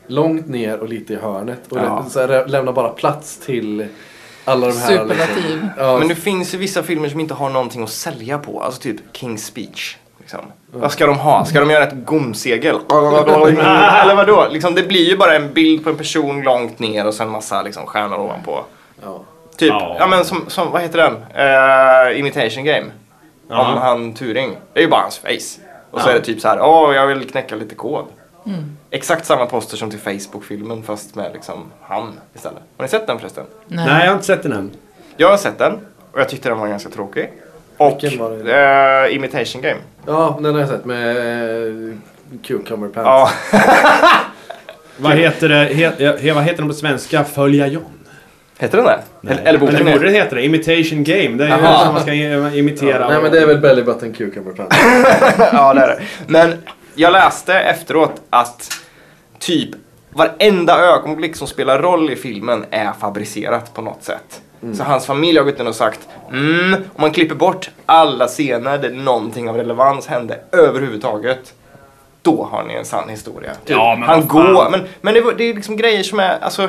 S4: långt ner och lite i hörnet. Och
S1: Ja.
S4: lä- så här, lämna bara plats till alla de här... liksom-
S3: Superlativ.
S4: ja,
S1: Men det finns ju vissa filmer som inte har någonting att sälja på. Alltså typ King's Speech. Liksom.
S4: Mm.
S1: Vad ska de ha? Ska de göra ett gomsegel? [LAUGHS] Eller vadå? Liksom, det blir ju bara en bild på en person långt ner och sen massa liksom, stjärnor ovanpå.
S4: Ja.
S1: Typ,
S2: Ja.
S1: ja men som, som vad heter den? Eh, imitation Game. Om
S2: Ja.
S1: han Turing. Det är ju bara hans face. Och så är det typ så här, åh jag vill knäcka lite kod.
S4: Mm.
S1: Exakt samma poster som till Facebook-filmen fast med liksom han istället. Har ni sett den förresten?
S3: Nej.
S2: Nej, jag har inte sett den än.
S1: Jag har sett den och jag tyckte den var ganska tråkig. Och
S4: Vilken var
S1: eh, Imitation Game.
S4: Ja, den har jag sett med eh, cucumber pants.
S1: Ja, [LAUGHS]
S2: Vad heter det? He, he, vad heter den på svenska? Följa John?
S1: heter den det? Eller, eller boken
S2: Eller
S1: är.
S2: borde den heta det? Imitation Game. Det är ju
S1: Jaha.
S2: som man ska i- imitera.
S4: Ja, nej men det är väl belly button cucumber pants.
S1: [LAUGHS] ja, det är det. Men jag läste efteråt att typ varenda ögonblick som spelar roll i filmen är fabricerat på något sätt.
S4: Mm.
S1: Så hans familj har gått in och sagt mm, om man klipper bort alla scener där någonting av relevans hände överhuvudtaget. Då har ni en sann historia. Typ,
S2: Ja, men
S1: han
S2: vad fan.
S1: går, men, men det, var- det är liksom grejer som är, alltså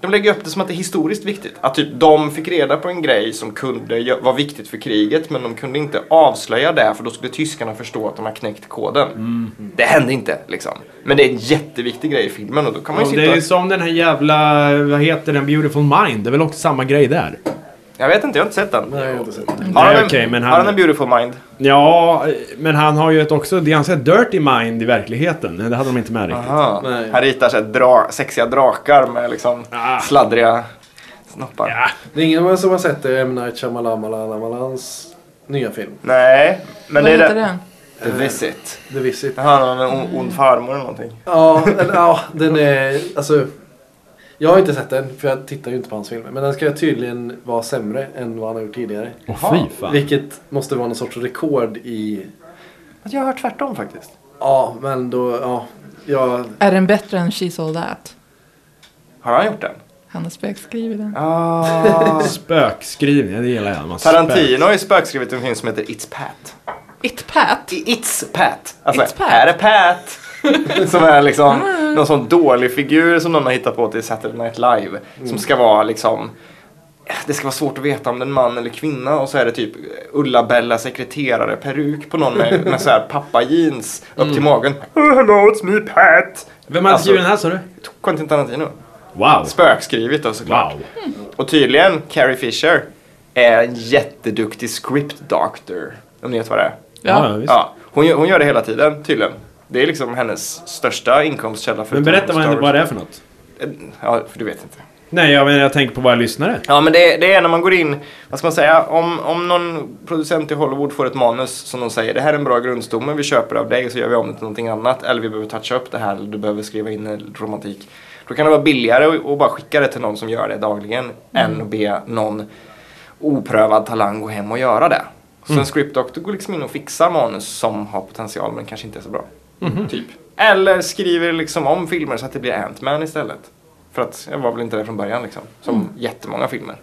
S1: de lägger upp det som att det är historiskt viktigt. Att typ de fick reda på en grej som kunde gö- vara viktigt för kriget men de kunde inte avslöja det för då skulle tyskarna förstå att de har knäckt koden.
S2: Mm.
S1: Det hände inte liksom. Men det är en jätteviktig grej i filmen och då kan man ju
S2: Ja,
S1: sitta
S2: det är
S1: och-
S2: ju som den här jävla, vad heter den, Beautiful Mind. Det är väl också samma grej där?
S1: Jag vet inte, jag har inte sett den.
S4: Nej, jag har inte sett den.
S1: Har
S2: Nej,
S1: han,
S2: okej,
S1: en,
S2: men
S1: har
S2: han-
S1: han en beautiful mind?
S2: Ja, men han har ju ett också, det är ganska dirty mind i verkligheten. Det hade de inte med riktigt.
S1: Aha.
S4: Nej.
S1: Han ritar så Ah. här dra, sexiga drakar med liksom
S2: Ah.
S1: sladdriga snoppar.
S4: Det är ingen som har sett det, M. Night Shyamalamalans nya film.
S1: Nej, men
S3: Vad
S1: det är
S3: heter
S1: det.
S3: den?
S1: The Visit.
S4: The Visit.
S1: Det handlar om en on- ond farmor eller någonting.
S4: Ja, eller, ja, den är... Alltså, jag har inte sett den, för jag tittar ju inte på hans filmer. Men den ska tydligen vara sämre än vad han har gjort tidigare.
S2: Åh fy fan.
S4: Vilket måste vara någon sorts rekord i...
S1: Jag har hört tvärtom faktiskt.
S4: Ja, men då... Ja, jag...
S3: Är den bättre än She Sold That?
S1: Har han gjort den?
S3: Han har spökskriver den.
S1: Ah.
S2: Spökskrivning, det gillar jag.
S1: [LAUGHS]
S2: Man
S1: Tarantino har ju spökskrivit en film som heter It's Pat.
S3: It Pat?
S1: I- It's Pat! Alltså,
S3: It's Pat.
S1: här är Pat! [LAUGHS] som är liksom någon sån dålig figur som någon har hittat på till Saturday Night Live. Som ska vara liksom... Det ska vara svårt att veta om det är en man eller kvinna och så är det typ Ulla-Bella sekreterare peruk på någon med, med så här pappa-jeans upp till magen. Oh, hello, it's me Pat!
S2: Spö- Vem hade
S1: Alltså-
S2: skrivit den här sa du?
S1: Quentin Tarantino.
S2: Wow.
S1: Spökskrivet då såklart.
S2: Wow.
S1: Och tydligen, Carrie Fisher är en jätteduktig script doctor. Om ni vet vad det är.
S2: Ja,
S3: Ja.
S2: visst.
S1: Ja, hon, gör- hon gör det hela tiden tydligen. Det är liksom hennes största inkomstkälla.
S2: Men
S1: förutom
S2: berätta vad,
S1: Star Wars.
S2: vad det är för något.
S1: Ja, för du vet inte.
S2: Nej, jag menar jag tänker på våra lyssnare.
S1: Ja, men det, det är när man går in, vad ska man säga, om, om någon producent i Hollywood får ett manus som de säger det här är en bra grundstomme, vi köper det av dig och så gör vi om det till någonting annat. Eller vi behöver toucha upp det här, eller du behöver skriva in en romantik. Då kan det vara billigare att- att bara skicka det till någon som gör det dagligen än att be någon oprövad talang gå hem och göra det. Så en script doctor går liksom in och fixar manus som har potential men kanske inte är så bra. Typ. Eller skriver liksom om filmer så att det blir Ant-Man istället. För att jag var väl inte där från början liksom. Som jättemånga filmer.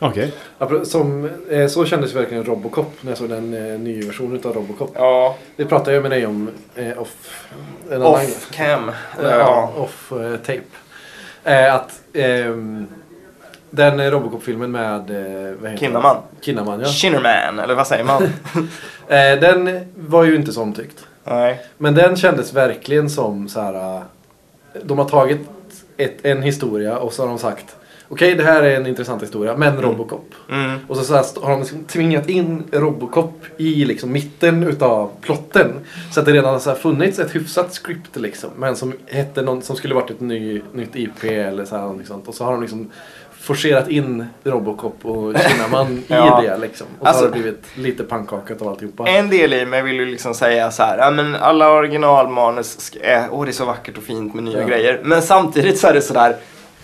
S2: Okej.
S4: apro- Som, eh, så kändes verkligen Robocop när jag såg den eh, nya versionen av Robocop.
S1: Ja,
S4: Det pratade jag med dig om eh, off... En annan-
S1: off cam.
S4: Eller,
S1: Ja.
S4: ja. off eh, tape. Eh, att ehm, den Robocop-filmen med eh, vad heter
S1: Kinnaman.
S4: han? Kinnaman, ja.
S1: Shinnerman, eller vad säger man?
S4: Eh, den var ju inte så omtyckt.
S1: [LAUGHS] Nej.
S4: Men den kändes verkligen som så här. eh, De har tagit ett, en historia och så har de sagt okej det här är en intressant historia men Robocop.
S1: Mm.
S4: Och så, så här, st- har de liksom tvingat in Robocop i liksom mitten utav plotten. Så att det redan har så här funnits ett hyfsat script liksom. Men som hette någon, som skulle varit ett ny, nytt IP eller så här, någonting sånt. Och så har de liksom forcerat in Robocop och
S1: [LAUGHS]
S4: Kinnaman
S1: Ja.
S4: i det liksom. Och så
S1: Alltså-
S4: har det blivit lite pannkakat av alltihopa.
S1: En del i mig vill ju liksom säga så här, ja men alla originalmanus sk- är, åh det är så vackert och fint med nya
S4: Ja.
S1: grejer. Men samtidigt så är det så där,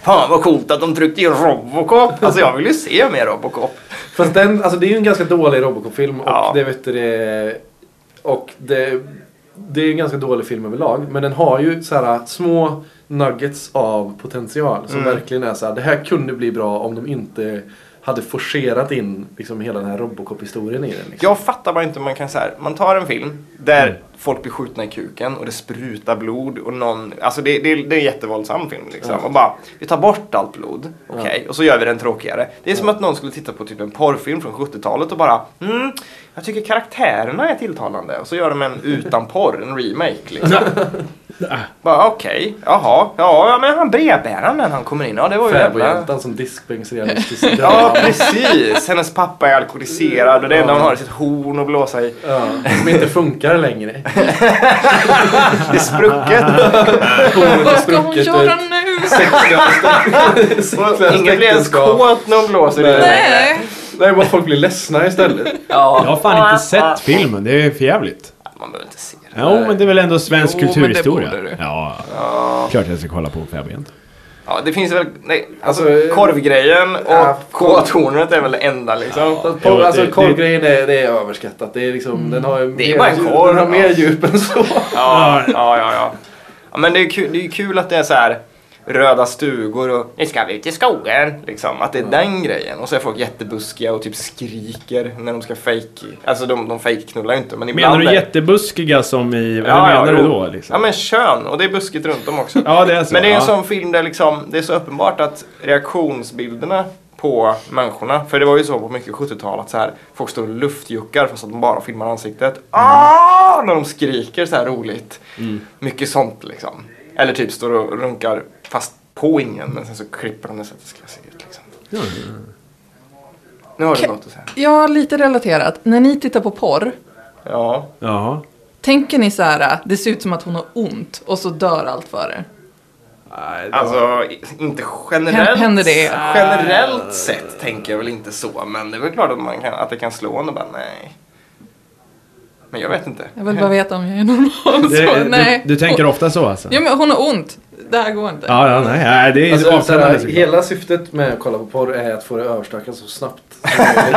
S1: fan vad coolt att de tryckte in Robocop. Alltså jag vill ju se mer Robocop.
S4: Fast den, alltså det är ju en ganska dålig Robocop-film och
S1: Ja.
S4: det vet du det... Och det, det är en ganska dålig film överlag. Men den har ju så här små nuggets av potential som
S1: Mm.
S4: verkligen är så här, det här kunde bli bra om de inte hade forcerat in liksom hela den här Robocop-historien i den. Liksom.
S1: Jag fattar bara inte hur man kan så här. man tar en film där folk blir skjutna i kuken och det sprutar blod och någon, alltså det, det, det är en jättevåldsam film liksom. Och bara, vi tar bort allt blod, okej, och så gör vi den tråkigare. Det är som att någon skulle titta på typ en porrfilm från 70-talet och bara, mm, jag tycker karaktärerna är tilltalande. Och så gör de en utan porr, en remake liksom. bara okej, jaha, ja ja, men han brevbäraren när han kommer in, ja det var ju jävla...
S4: Fäbodjäntan som diskbänksrealistisk.
S1: [LAUGHS] Ja, precis. Hennes pappa är alkoholiserad och det enda hon har är sitt horn att blåsa i.
S4: Ja, som inte
S1: [LAUGHS]
S4: funkar längre.
S1: Det är
S2: [LAUGHS]
S1: sprucket.
S3: Vad ska hon göra nu?
S1: Och Ingen blir ens kåt när hon blåser i det.
S3: Nej.
S4: Nej, bara folk blir ledsna istället.
S2: Jag har fan inte sett filmen, det är för jävligt.
S1: Man behöver inte se det.
S2: Jo, men det är väl ändå svensk
S3: Jo, men det
S2: kulturhistoria?
S3: borde du.
S2: Ja, klart jag ska kolla på Fäbodjäntan.
S1: Ja, det finns väl, nej, alltså,
S4: Alltså, eh,
S1: korvgrejen
S4: ja,
S1: och kåthornet är väl det enda liksom.
S4: Fast
S2: Jo,
S4: Porr,
S2: det-
S4: alltså
S2: det-
S4: korvgrejen är, det är överskattat. Det är liksom, den har ju
S1: Mm. Det är
S4: mer
S1: bara en
S4: djup-
S1: korv,
S4: Den har
S1: ja.
S4: mer djup än så.
S1: Ja, ja, ja. ja. ja men det är, kul, det är ju kul att det är så här röda stugor och nu ska vi ut i skogen. Liksom, att det är den grejen. Och så är folk jättebuskiga och typ skriker när de ska fake. Alltså de, de fejkknullar ju inte men ibland
S2: Menar du
S1: är-
S2: jättebuskiga som i... Vad
S1: Ja, ja,
S2: menar du
S1: jo.
S2: då?
S1: Ja
S2: Liksom?
S1: men kön och det är buskigt runt om också.
S2: [LAUGHS] Ja, det är så.
S1: Men det är en
S2: ja.
S1: sån film där liksom, det är så uppenbart att reaktionsbilderna på människorna, för det var ju så på mycket 70-tal att så här, folk står och luftjuckar fast att de bara filmar ansiktet.
S2: Mm.
S1: Ah! När de skriker så här roligt.
S2: Mm.
S1: Mycket sånt liksom. Eller typ står och runkar fast på ingen men sen så klipper de det så att det ska se ut liksom. Nu har du
S3: Ke-
S1: något att säga.
S3: Ja, lite relaterat. När ni tittar på porr,
S1: Ja.
S2: Jaha.
S3: tänker ni så här, äh, det ser ut som att hon har ont och så dör allt för det.
S1: Alltså, i- inte
S3: Hän-
S1: generellt. Äh,
S3: händer det?
S4: Äh.
S1: Generellt sett tänker jag väl inte så, men det är väl klart att, man kan, att det kan slå en och bara nej. Men jag vet inte.
S3: Jag vill bara veta om jag är normal.
S2: Det,
S3: [LAUGHS] så,
S2: du,
S3: nej.
S2: du tänker ofta så alltså?
S3: Ja, men hon har ont. Det här går inte.
S2: Ja, ja, nej, nej, det är liksom.
S4: Alltså, så
S2: avtändande
S4: här,
S1: liksom.
S2: såklart.
S4: hela syftet med att kolla på porr är att få det överstökat så snabbt som
S1: [LAUGHS]
S4: möjligt.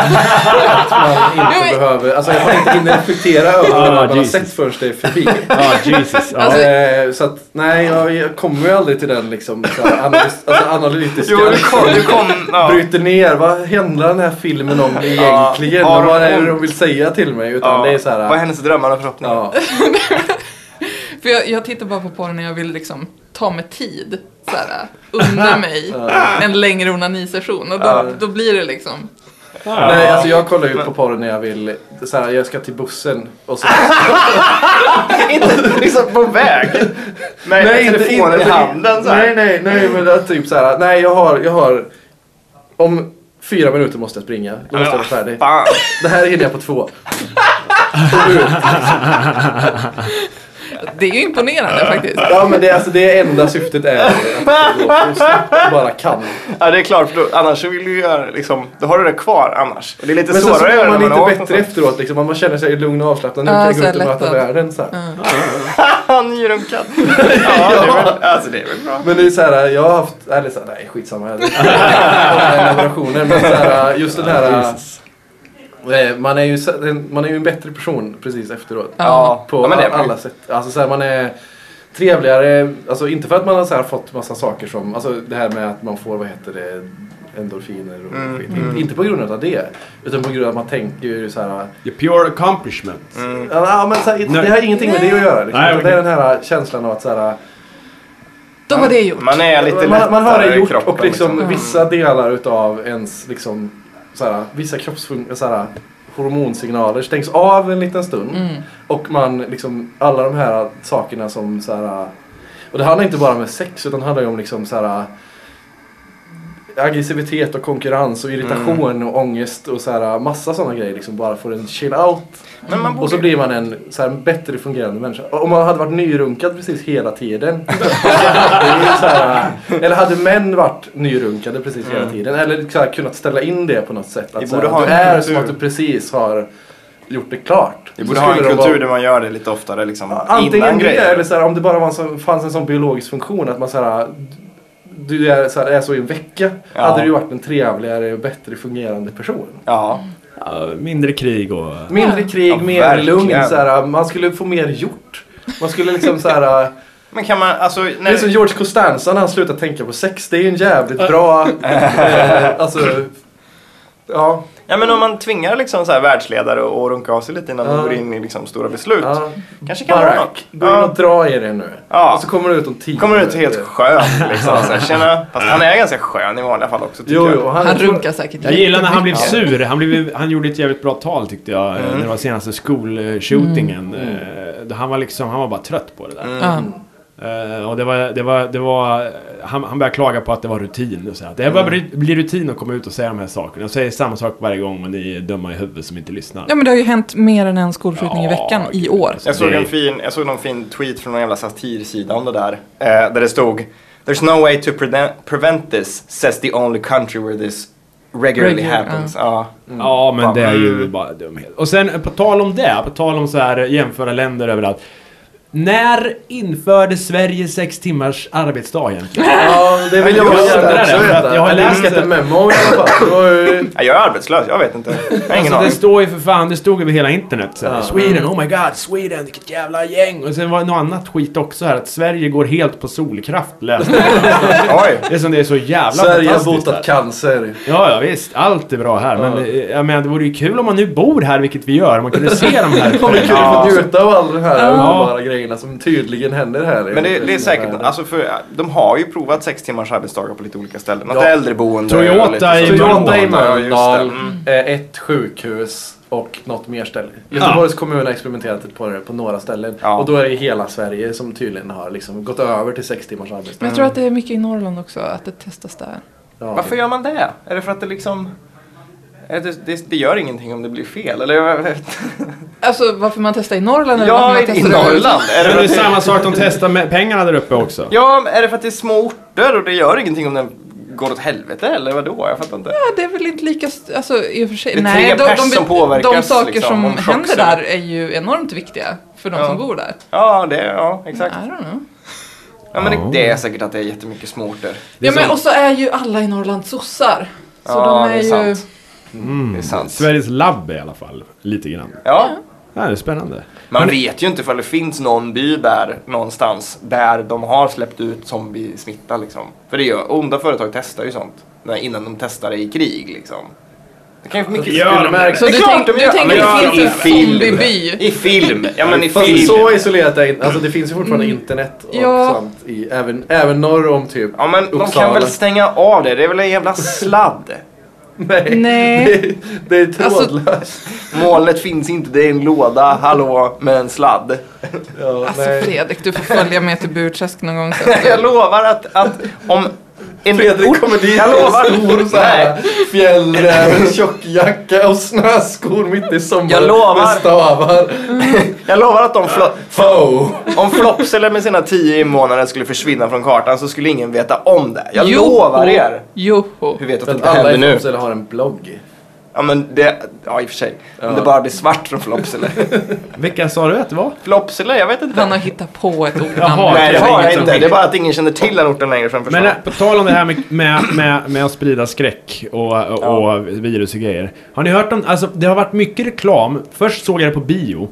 S4: att man
S3: Jo,
S4: inte
S3: men-
S4: behöver, alltså att man inte hinner reflektera över
S2: Ah,
S4: vad man har
S2: Jesus.
S4: sett förrän det är förbi.
S1: [LAUGHS]
S4: Alltså-
S2: Ja, Jesus. Ja.
S3: Alltså-
S4: Eh, så att nej, jag, jag kommer ju aldrig till den liksom, så här, analys, alltså, analytiska.
S1: Jo, du kom. Du [LAUGHS] kom ja.
S4: Bryter ner, vad handlar den här filmen om
S1: Ja,
S4: egentligen?
S1: har
S4: och vad är
S1: hon-
S4: det de vill säga till mig? Utan
S1: ja.
S4: det är så här,
S1: Vad är hennes drömmar och förhoppningar? [LAUGHS]
S4: ja.
S3: För jag, jag tittar bara på porr när jag vill liksom ta mig tid. Så här, äh,
S2: [LAUGHS]
S3: unna mig en längre onanisession. Och då, då blir det liksom.
S4: Nej, alltså jag kollar ju på porr när jag vill, så här, jag ska till bussen och så
S1: inte liksom på väg. [LAUGHS] Nej, med telefonen i handen så här.
S4: Nej, nej, nej, men det är typ så här. Nej, jag har, jag har... Om fyra minuter måste jag springa. Då måste jag vara färdig.
S1: Fan.
S4: Det här hinner jag på två.
S3: Det är ju imponerande faktiskt.
S4: Ja, men det, är alltså, det enda syftet är att gå så snabbt du bara kan.
S1: Ja, det är klart. För då, annars så vill du ju göra liksom, då har du det kvar annars. Och det är lite
S4: Men sen
S1: svårare
S4: så
S1: att göra
S4: mår man
S1: när har
S4: lite
S1: åkt
S4: bättre
S1: [LAUGHS]
S4: efteråt. Liksom. Man bara känner sig lugn och avslappnad. Nu
S3: Ja,
S4: kan jag
S3: så
S4: gå ut och
S3: lättad.
S4: möta världen. Så här.
S1: någonstans. Nyrunkad.
S4: [LAUGHS]
S1: Ja, det är väl, alltså det är väl bra.
S4: Men det är så här, jag har haft... Eller så här, nej, skitsamma. Jag har operationer. Men så här, just den här... eh, Man är, ju, så- den- man är ju en bättre person precis efteråt.
S1: Ja,
S4: På
S1: ja, men det är man ju.
S4: alla sätt. Alltså så här, man är trevligare. Alltså inte för att man har så här fått massa saker som, alltså det här med att man får, vad heter det, endorfiner och
S1: Mm,
S4: skit.
S1: mm.
S4: Inte på grund av det. Utan på grund av att man tänker ju så här.
S2: The pure accomplishment.
S1: Mm.
S4: Ja, men så här
S2: Nej.
S4: det har ingenting med det att göra. Liksom.
S2: Nej,
S4: Utan Det är den här känslan av att så här,
S3: Då var det gjort.
S1: Man är lite
S4: man, man har
S1: lättare
S4: det
S1: i
S4: gjort
S1: kroppen, Mm.
S4: och liksom, vissa delar utav ens liksom, så här, vissa kroppsfunktioner, hormonsignaler stängs av en liten stund.
S3: Mm.
S4: Och man liksom, alla de här sakerna som så här. Och det handlar inte bara om sex utan det handlar ju om liksom så här. Aggressivitet och konkurrens och irritation
S1: Mm.
S4: och ångest och så här massa sådana grejer liksom bara för en chill out.
S1: Men man
S4: Och så
S1: borde
S4: blir man en så här, bättre fungerande människa. Om man hade varit nyrunkad precis hela tiden. [LAUGHS] det är ju så här, eller hade män varit nyrunkade precis hela tiden. Eller så här, kunnat ställa in det på något sätt.
S1: Mm. Vi
S4: Att, så
S1: borde ha
S4: här, du
S1: en
S4: är
S1: kultur.
S4: som att du precis har gjort det klart.
S1: Vi
S4: Så
S1: borde ha en
S4: skulle de vara-
S1: kultur där man gör det lite oftare liksom
S4: Antingen
S1: innan
S4: det
S1: grejer.
S4: eller så här, om det bara var en sån, fanns en sån biologisk funktion att man så här, du är så, här, är så i en vecka.
S1: Ja.
S4: Hade du varit en trevligare och bättre fungerande person.
S1: Ja.
S2: Ja, mindre krig och...
S4: Mindre krig,
S1: Ja,
S4: mer
S1: verkligen.
S4: lugn. Så här, man skulle få mer gjort. Man skulle
S1: [LAUGHS]
S4: liksom så här.
S1: Men kan man, alltså,
S4: Det är som
S1: när,
S4: George
S1: [LAUGHS]
S4: Costanza när han slutar tänka på sex. Det är ju en jävligt bra eh, alltså, Ja,
S1: Ja men om man tvingar liksom så här världsledare att runka av sig lite innan de
S4: Ja.
S1: går in i liksom stora beslut.
S4: ja.
S1: Kanske kan vara något.
S4: Barack, gå in och
S1: Ja.
S4: dra i det nu.
S1: Ja.
S4: Och så kommer du ut om tio
S1: Kommer ut helt
S4: minuter.
S1: skön liksom. Så här, tjena. Fast han är ganska skön i vanliga fall också tycker
S4: Jo,
S1: jag.
S4: jo,
S3: Han runkar säkert
S2: Jag gillar när han blev
S3: jättemycket.
S2: sur. Han, blev, han gjorde ett jävligt bra tal tyckte jag. eh, När det var senaste skolshootingen. Mm. Han var liksom, han var bara trött på det där.
S3: Ja.
S2: Eh, och det var, det var, det var, han, han började klaga på att det var rutin. Och så här. Det här börjar bli- bli rutin att komma ut och säga de här sakerna. Jag säger samma sak varje gång och ni är dumma i huvudet som inte lyssnar.
S3: Ja men det har ju hänt mer än en skolskjutning i
S2: Ja,
S3: veckan i
S2: gud.
S3: år.
S1: Jag såg,
S2: Det-
S1: en fin, jag såg någon fin tweet från någon jävla satirsida om det där. Eh, där det stod There's no way to preden- prevent this, says the only country where this regularly
S3: Regular,
S1: happens. Ja.
S2: Ja, men
S1: Fan.
S2: det är ju
S1: Mm.
S2: bara dumhet. Och sen på tal om det, på tal om så här jämföra länder överallt. När införde Sverige sex timmars arbetsdag egentligen?
S4: Ja, det vill jag
S1: Jag
S4: bara
S1: undrar
S4: gärna
S1: det,
S4: också
S2: för att
S4: veta.
S2: jag har
S4: Eller
S2: läst
S4: inte
S2: det.
S4: memo i alla fall. Det var ju-
S1: Ja, Jag är arbetslös, jag vet inte. Jag har ingen
S2: Alltså, det
S1: aning.
S2: står ju för fan, det stod över hela internet. Så här,
S4: Ja.
S2: Sweden, oh my god, Sweden, vilket jävla gäng. Och sen var det något annat skit också här, att Sverige går helt på solkraft läste jag.
S1: Oj!
S2: Det är som det är så jävla
S4: Sverige har
S2: fantastiskt här.
S4: botat cancer.
S2: Ja, ja visst. Allt är bra här. Men
S4: Ja.
S2: eh, jag menar, det vore ju kul om man nu bor här, vilket vi gör. om Man kunde se de här.
S4: Kommer kul
S1: Ja.
S4: att få njuta av alla de här
S2: Ja.
S4: underbara grejerna som tydligen händer här. i
S1: Men det, det är säkert,
S4: världen.
S1: alltså för, de har ju provat sex timmars arbetsdagar på lite olika ställen. Något
S4: Ja.
S1: äldreboende och
S2: Toyota
S1: lite så.
S2: i
S4: Toyota i
S1: Ja, just det.
S4: Mölndal,
S1: Mm.
S4: eh, ett sjukhus och något mer ställe. Göteborgs kommun har experimenterat på det på några ställen.
S1: Ja.
S4: Och då är det hela Sverige som tydligen har liksom gått över till sex timmars arbetsdag.
S3: Men jag tror att det är mycket i Norrland också, att det testas där.
S4: Ja.
S1: Varför gör man det? Är det för att det liksom... är Det, det, det gör ingenting om det blir fel, eller? [LAUGHS] Jag vet inte.
S3: Alltså varför man testar i Norrland eller varför
S1: Ja,
S3: man
S1: i
S3: testar överhuvudtaget.
S1: Norrland! Är det för
S2: Men det är
S1: att det-
S2: samma sak, de testar med pengarna där uppe också.
S1: Ja, men är det för att det är små orter och det gör ingenting om den går åt helvete eller vadå? Jag fattar inte.
S3: Ja, det är väl inte lika... st- Alltså i och för sig.
S1: Det är
S3: Nej,
S1: tre
S3: de,
S1: pers
S3: de,
S1: som påverkas,
S3: De saker
S1: liksom,
S3: som
S1: om chock
S3: händer
S1: ser vi.
S3: där är ju enormt viktiga för de
S1: Ja.
S3: som bor där.
S1: Ja, det, ja exakt.
S3: I don't know.
S1: Ja, men det, det är säkert att det är jättemycket små orter.
S3: Ja, men och så är ju alla i Norrland sossar. Så
S1: Ja,
S3: de är,
S1: det är
S3: ju...
S1: sant. Det är sant.
S4: Mm.
S2: Sveriges labb i alla fall, lite grann.
S1: Ja,
S2: Ja, det är spännande.
S1: man vet ju inte ifall det finns någon by där någonstans där de har släppt ut zombiesmitta liksom. För det gör, onda företag testar ju sånt när- innan de testar det i krig liksom. Det kan ju mycket
S2: gör
S1: skulle
S2: de
S1: märkas.
S3: Så
S1: Det är
S3: du
S1: klart
S3: tänk-
S1: de
S3: du
S1: gör.
S3: tänker typ
S1: Ja,
S3: det
S1: i
S3: finns en
S1: film.
S3: zombieby.
S1: I film! Ja men i
S4: Fast
S1: film.
S4: så isolerat är inte, alltså det finns ju fortfarande internet och
S3: Ja.
S4: sånt i, även, även norr om typ
S1: Ja men de
S4: Uppsala.
S1: kan väl stänga av det, det är väl en jävla sladd. [LAUGHS]
S4: Nej,
S3: Nej.
S4: Det, det är trådlöst.
S1: Molnet finns inte, det är en låda, hallå, med en sladd. [LAUGHS]
S4: ja,
S3: Alltså
S4: nej.
S3: Fredrik, du får följa med till Burträsk någon gång. Så.
S1: Jag lovar att, att om en
S4: Fredrik
S1: ort-
S4: kommer dit
S1: jag
S4: med
S1: lovar,
S4: [LAUGHS] stor så här
S1: nej,
S4: fjällräven, tjockjacka och snöskor mitt i sommaren.
S1: Jag lovar.
S4: Med stavar.
S1: jag lovar att om, flo-
S4: Foe.
S1: om Flopsele med sina tio invånare skulle försvinna från kartan så skulle ingen veta om det. Jag
S3: Joho.
S1: lovar er.
S3: Joho.
S1: Hur vet du
S4: För
S1: att
S4: att
S1: det inte
S4: alla
S1: händer
S4: i
S1: nu?
S4: Fopsele har en blogg.
S1: Ja men det, ja i och för sig. Om
S4: Ja.
S1: det bara blir svart från Flopsele.
S2: Vilka sa du att det var?
S1: Flopsele, jag vet inte.
S3: Han har hittat på ett ord.
S2: Jaha.
S1: Nej det
S2: Det är
S1: har jag
S2: inget som
S1: inte.
S2: vet.
S1: Det är bara att ingen känner till den orten längre framför
S2: Men
S1: sig.
S2: eh, på tal om det här med, med, med, med att sprida skräck och, och, och virus och grejer. Har ni hört om, alltså det har varit mycket reklam. Först såg jag det på bio.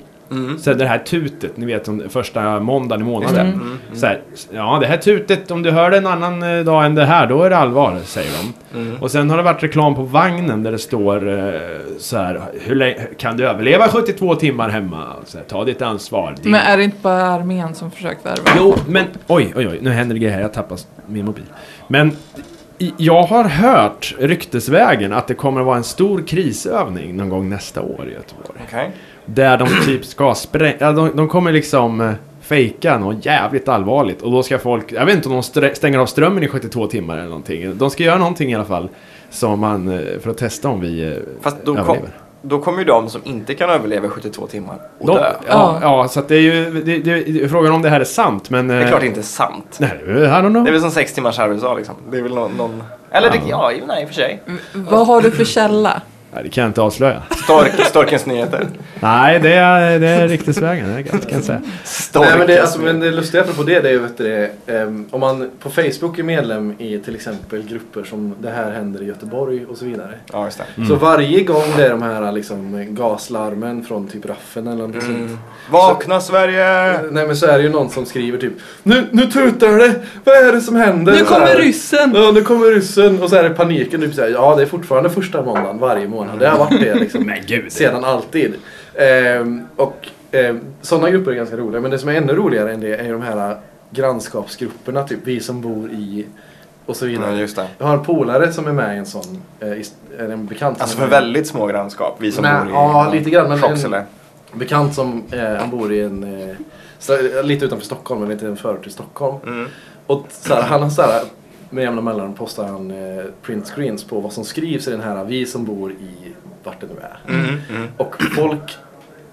S2: Så här, det här tutet, ni vet om första måndagen i månaden. Så här, ja, det här tutet, om du hör det en annan eh, dag än det här, då är det allvar, säger de. Och sen har det varit reklam på vagnen där det står eh, så här, hur länge, kan du överleva 72 timmar hemma? Så här, Ta ditt ansvar. Din
S3: Men är det inte bara armén som försökt värva?
S2: Jo, men oj, oj, oj, nu händer det grejer här. Jag tappar min mobil. Men i- jag har hört ryktesvägen att det kommer att vara en stor krisövning någon gång nästa år i Göteborg.
S1: Okej.
S2: Där de typ ska spränga, ja, de, de kommer liksom eh, fejka något jävligt allvarligt. Och då ska folk, jag vet inte om de strä- stänger av strömmen i 72 timmar eller någonting. De ska göra någonting i alla fall. Som man, eh, för att testa om vi eh,
S1: Fast då, kom,
S2: överlever.
S1: då kommer ju de som inte kan överleva i 72 timmar att
S2: De,
S1: dö.
S2: ja, ja, så att det är ju, det, det, det, frågan om det här är sant men... eh,
S1: Det är
S4: Eh,
S1: klart det inte är sant.
S2: Nej, I don't know.
S1: Det är väl som sex timmars arbetsdag liksom. Det är väl någon... någon eller det, ja, i- nej i och för sig.
S3: Vad har du för källa?
S2: Nej, det kan jag inte avslöja.
S1: [LAUGHS] Stork, Storkens nyheter.
S2: Nej, det är, det är ryktesvägen. Det kan jag säga.
S1: Storkens
S4: Nej, men, det, alltså, men
S1: nyheter.
S4: det lustiga på det, det är ju vet du, det, ehm, om man på Facebook är medlem i till exempel grupper som det här händer i Göteborg och så vidare.
S1: Ja, just det.
S4: Så varje gång det är de här liksom, gaslarmen från typ raffen eller något
S1: Mm.
S4: sånt.
S1: Vakna
S3: Eh.
S1: Sverige!
S4: Nej men så är det ju någon som skriver typ Nu, nu tutar det! Vad är det som händer?
S3: Nu
S4: Så här.
S3: kommer ryssen!
S4: Ja, nu kommer ryssen och så är det paniken. Typ så här, ja, det är fortfarande första måndagen varje månad. Det har varit det liksom. [LAUGHS] Sedan alltid. Ehm, och ehm, sådana grupper är ganska roliga. Men det som är ännu roligare än det är ju de här grannskapsgrupperna. Typ vi som bor i och så
S1: Ja,
S4: vidare.
S1: just det.
S4: Jag har en polare som är med i en sån. eh, i- Är en bekant. som
S1: Alltså
S4: är
S1: för
S4: med i-
S1: väldigt små grannskap, vi som
S4: Nej,
S1: bor i
S4: ja, lite grann, men-
S1: Kroksele.
S4: bekant som eh, han bor i en... Eh, så- lite utanför Stockholm, men inte en förort till Stockholm.
S1: Mm.
S4: Och så här, han har så här, med jämna mellanrum postar han eh, printscreens på vad som skrivs i den här Vi som bor i vart det nu är.
S1: Mm, mm.
S4: Och folk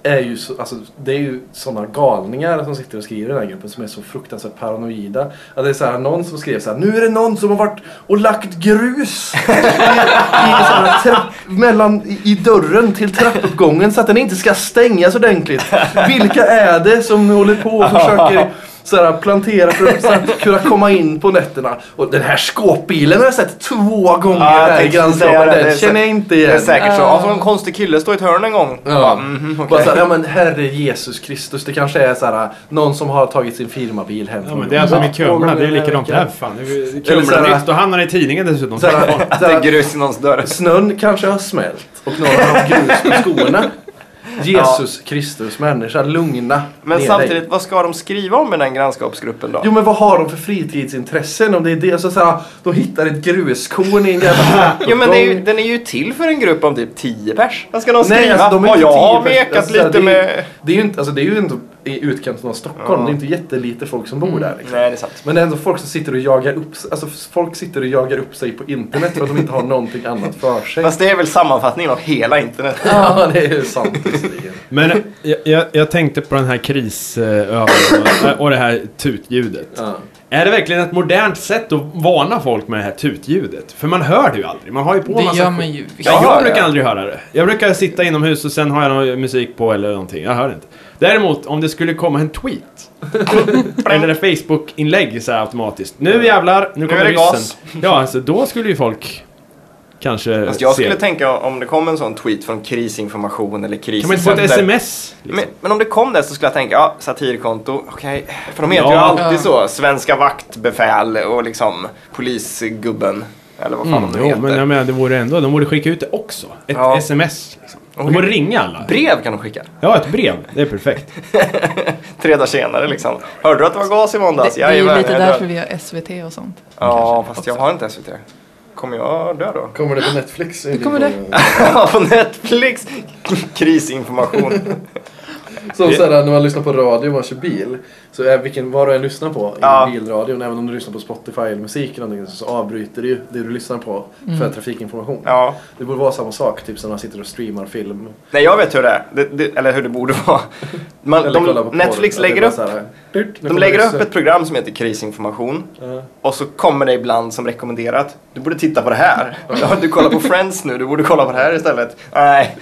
S4: är ju så, alltså, det är ju sådana galningar som sitter och skriver i den här gruppen som är så fruktansvärt paranoida. Att det är så här, någon som skrev så här, nu är det någon som har varit och lagt grus i, i, så här, trapp, mellan, i, i dörren till trappuppgången så att den inte ska stängas ordentligt. Vilka är det som håller på och försöker så här, plantera för att så här, kunna komma in på nätterna? Och den här skåpbilen har jag sett två gånger
S1: Ja, jag
S4: här i
S1: tänkte säga det.
S4: grannskapet.
S1: Det är
S4: Den
S1: så-
S4: känner jag inte
S1: Det
S4: igen.
S1: är säkert så. Alltså en konstig kille står i ett hörn en gång.
S4: Ja. mm,
S1: mhm, okej.
S4: Bara såhär, ja men herre Jesus Kristus, det kanske är såhär någon som har tagit sin firmabil hem
S2: Ja, men det är som i Kumla. Det är likadant där. Fan, det är ju Kumla-nytt och hamnar i tidningen
S1: [LAUGHS]
S2: dessutom.
S4: Såhär,
S1: Att det är grus i någons dörr.
S4: snön kanske har smält och någon har haft grus på
S1: [LAUGHS]
S4: skorna. Jesus Kristus människa, lugna ner
S1: Men
S4: dig.
S1: samtidigt, vad ska de skriva om i den grannskapsgruppen då?
S4: Jo men vad har de för fritidsintressen om det är det? Så såhär, de hittar ett gruskorn i
S1: [LAUGHS]
S4: en jävla
S1: Jo men det är ju,
S4: trappuppgång.
S1: den är ju till för en grupp om typ 10 pers. Vad ska de skriva?
S4: Nej, alltså, de är
S1: Har
S4: inte
S1: jag har
S4: 10 pers.
S1: mekat
S4: Alltså,
S1: lite
S4: det är-
S1: med...
S4: Det är ju inte, alltså det är ju inte i utkanten av Stockholm,
S1: Ja. Mm.
S4: det är inte jättelite folk som bor där liksom.
S1: Nej, det är sant.
S4: Men det är ändå folk som sitter och jagar upp sig. Alltså folk sitter och jagar upp sig på internet för att de inte har någonting annat för sig.
S1: Fast det är väl sammanfattningen av hela
S2: [LAUGHS]
S1: internet.
S4: Ja, det är ju sant visserligen.
S2: Men jag, jag, jag tänkte på den här krisövningen och det här tutljudet.
S4: Ja.
S2: Är det verkligen ett modernt sätt att varna folk med det här tutljudet? För man hör det ju aldrig. Man har ju på
S3: Det
S2: massa
S3: gör man ju visst.
S1: Ja.
S2: jag
S1: hör
S2: brukar
S1: det.
S2: aldrig höra det. Jag brukar sitta inomhus och sen har jag någon musik på eller någonting. Jag hör det inte. Däremot om det skulle komma
S1: [LAUGHS]
S2: en tweet. eller ett Facebook-inlägg så här automatiskt. Nu jävlar, nu kommer
S1: är det
S2: ryssen.
S1: gas.
S2: [LAUGHS] Ja, alltså då skulle ju folk kanske
S1: Fast jag
S2: se.
S1: skulle tänka om det kom en sån tweet från krisinformation eller kris.
S2: Kan man inte få ett sms? liksom?
S1: Men, men om det kom det så skulle jag tänka, ja, satirkonto, okej. För de heter ju
S2: Ja.
S1: alltid
S3: Ja.
S1: så. Svenska vaktbefäl och liksom polisgubben. Eller vad fan
S2: Mm,
S1: de nu
S2: jo,
S1: heter.
S2: men jag menar, det vore ändå, de borde skicka ut det också. Ett
S1: Ja.
S2: sms. Liksom. De
S1: Okej.
S2: borde ringa alla.
S1: Brev kan de skicka.
S2: Ja, ett brev. Det är perfekt.
S1: Tre dagar senare liksom. Hörde du att det var gas i måndags?
S3: Det är ju
S1: Jajamän,
S3: lite
S1: alltså, jag
S3: därför
S1: dör.
S3: vi har SVT och sånt.
S1: Ja, fast jag har inte SVT. Kommer jag dö då? [LAUGHS]
S4: Kommer det på Netflix? Det
S3: kommer det.
S1: Ja, på Netflix. Krisinformation.
S4: Som såhär när man lyssnar på radio och man kör bil. Så är vilken, vad du än lyssnar på i
S1: Ja.
S4: bilradion, även om du lyssnar på Spotify eller musik eller någonting, så avbryter det ju det du lyssnar på för trafikinformation.
S1: Ja.
S4: Det borde vara samma sak, typ som när man sitter och streamar film.
S1: Nej, jag vet hur det är. Det, det, eller hur det borde vara. Man,
S4: Eller kollar
S1: de,
S4: på
S1: Netflix
S4: porr.
S1: lägger
S4: Det är
S1: upp,
S4: bara så här, "Durt, nu
S1: de
S4: kommer
S1: lägger upp
S4: ryssen."
S1: ett program som heter krisinformation.
S4: Ja.
S1: Och så kommer det ibland som rekommenderat. Du borde titta på det här. Ja, du kollar på Friends nu, du borde kolla på det här istället. Nej.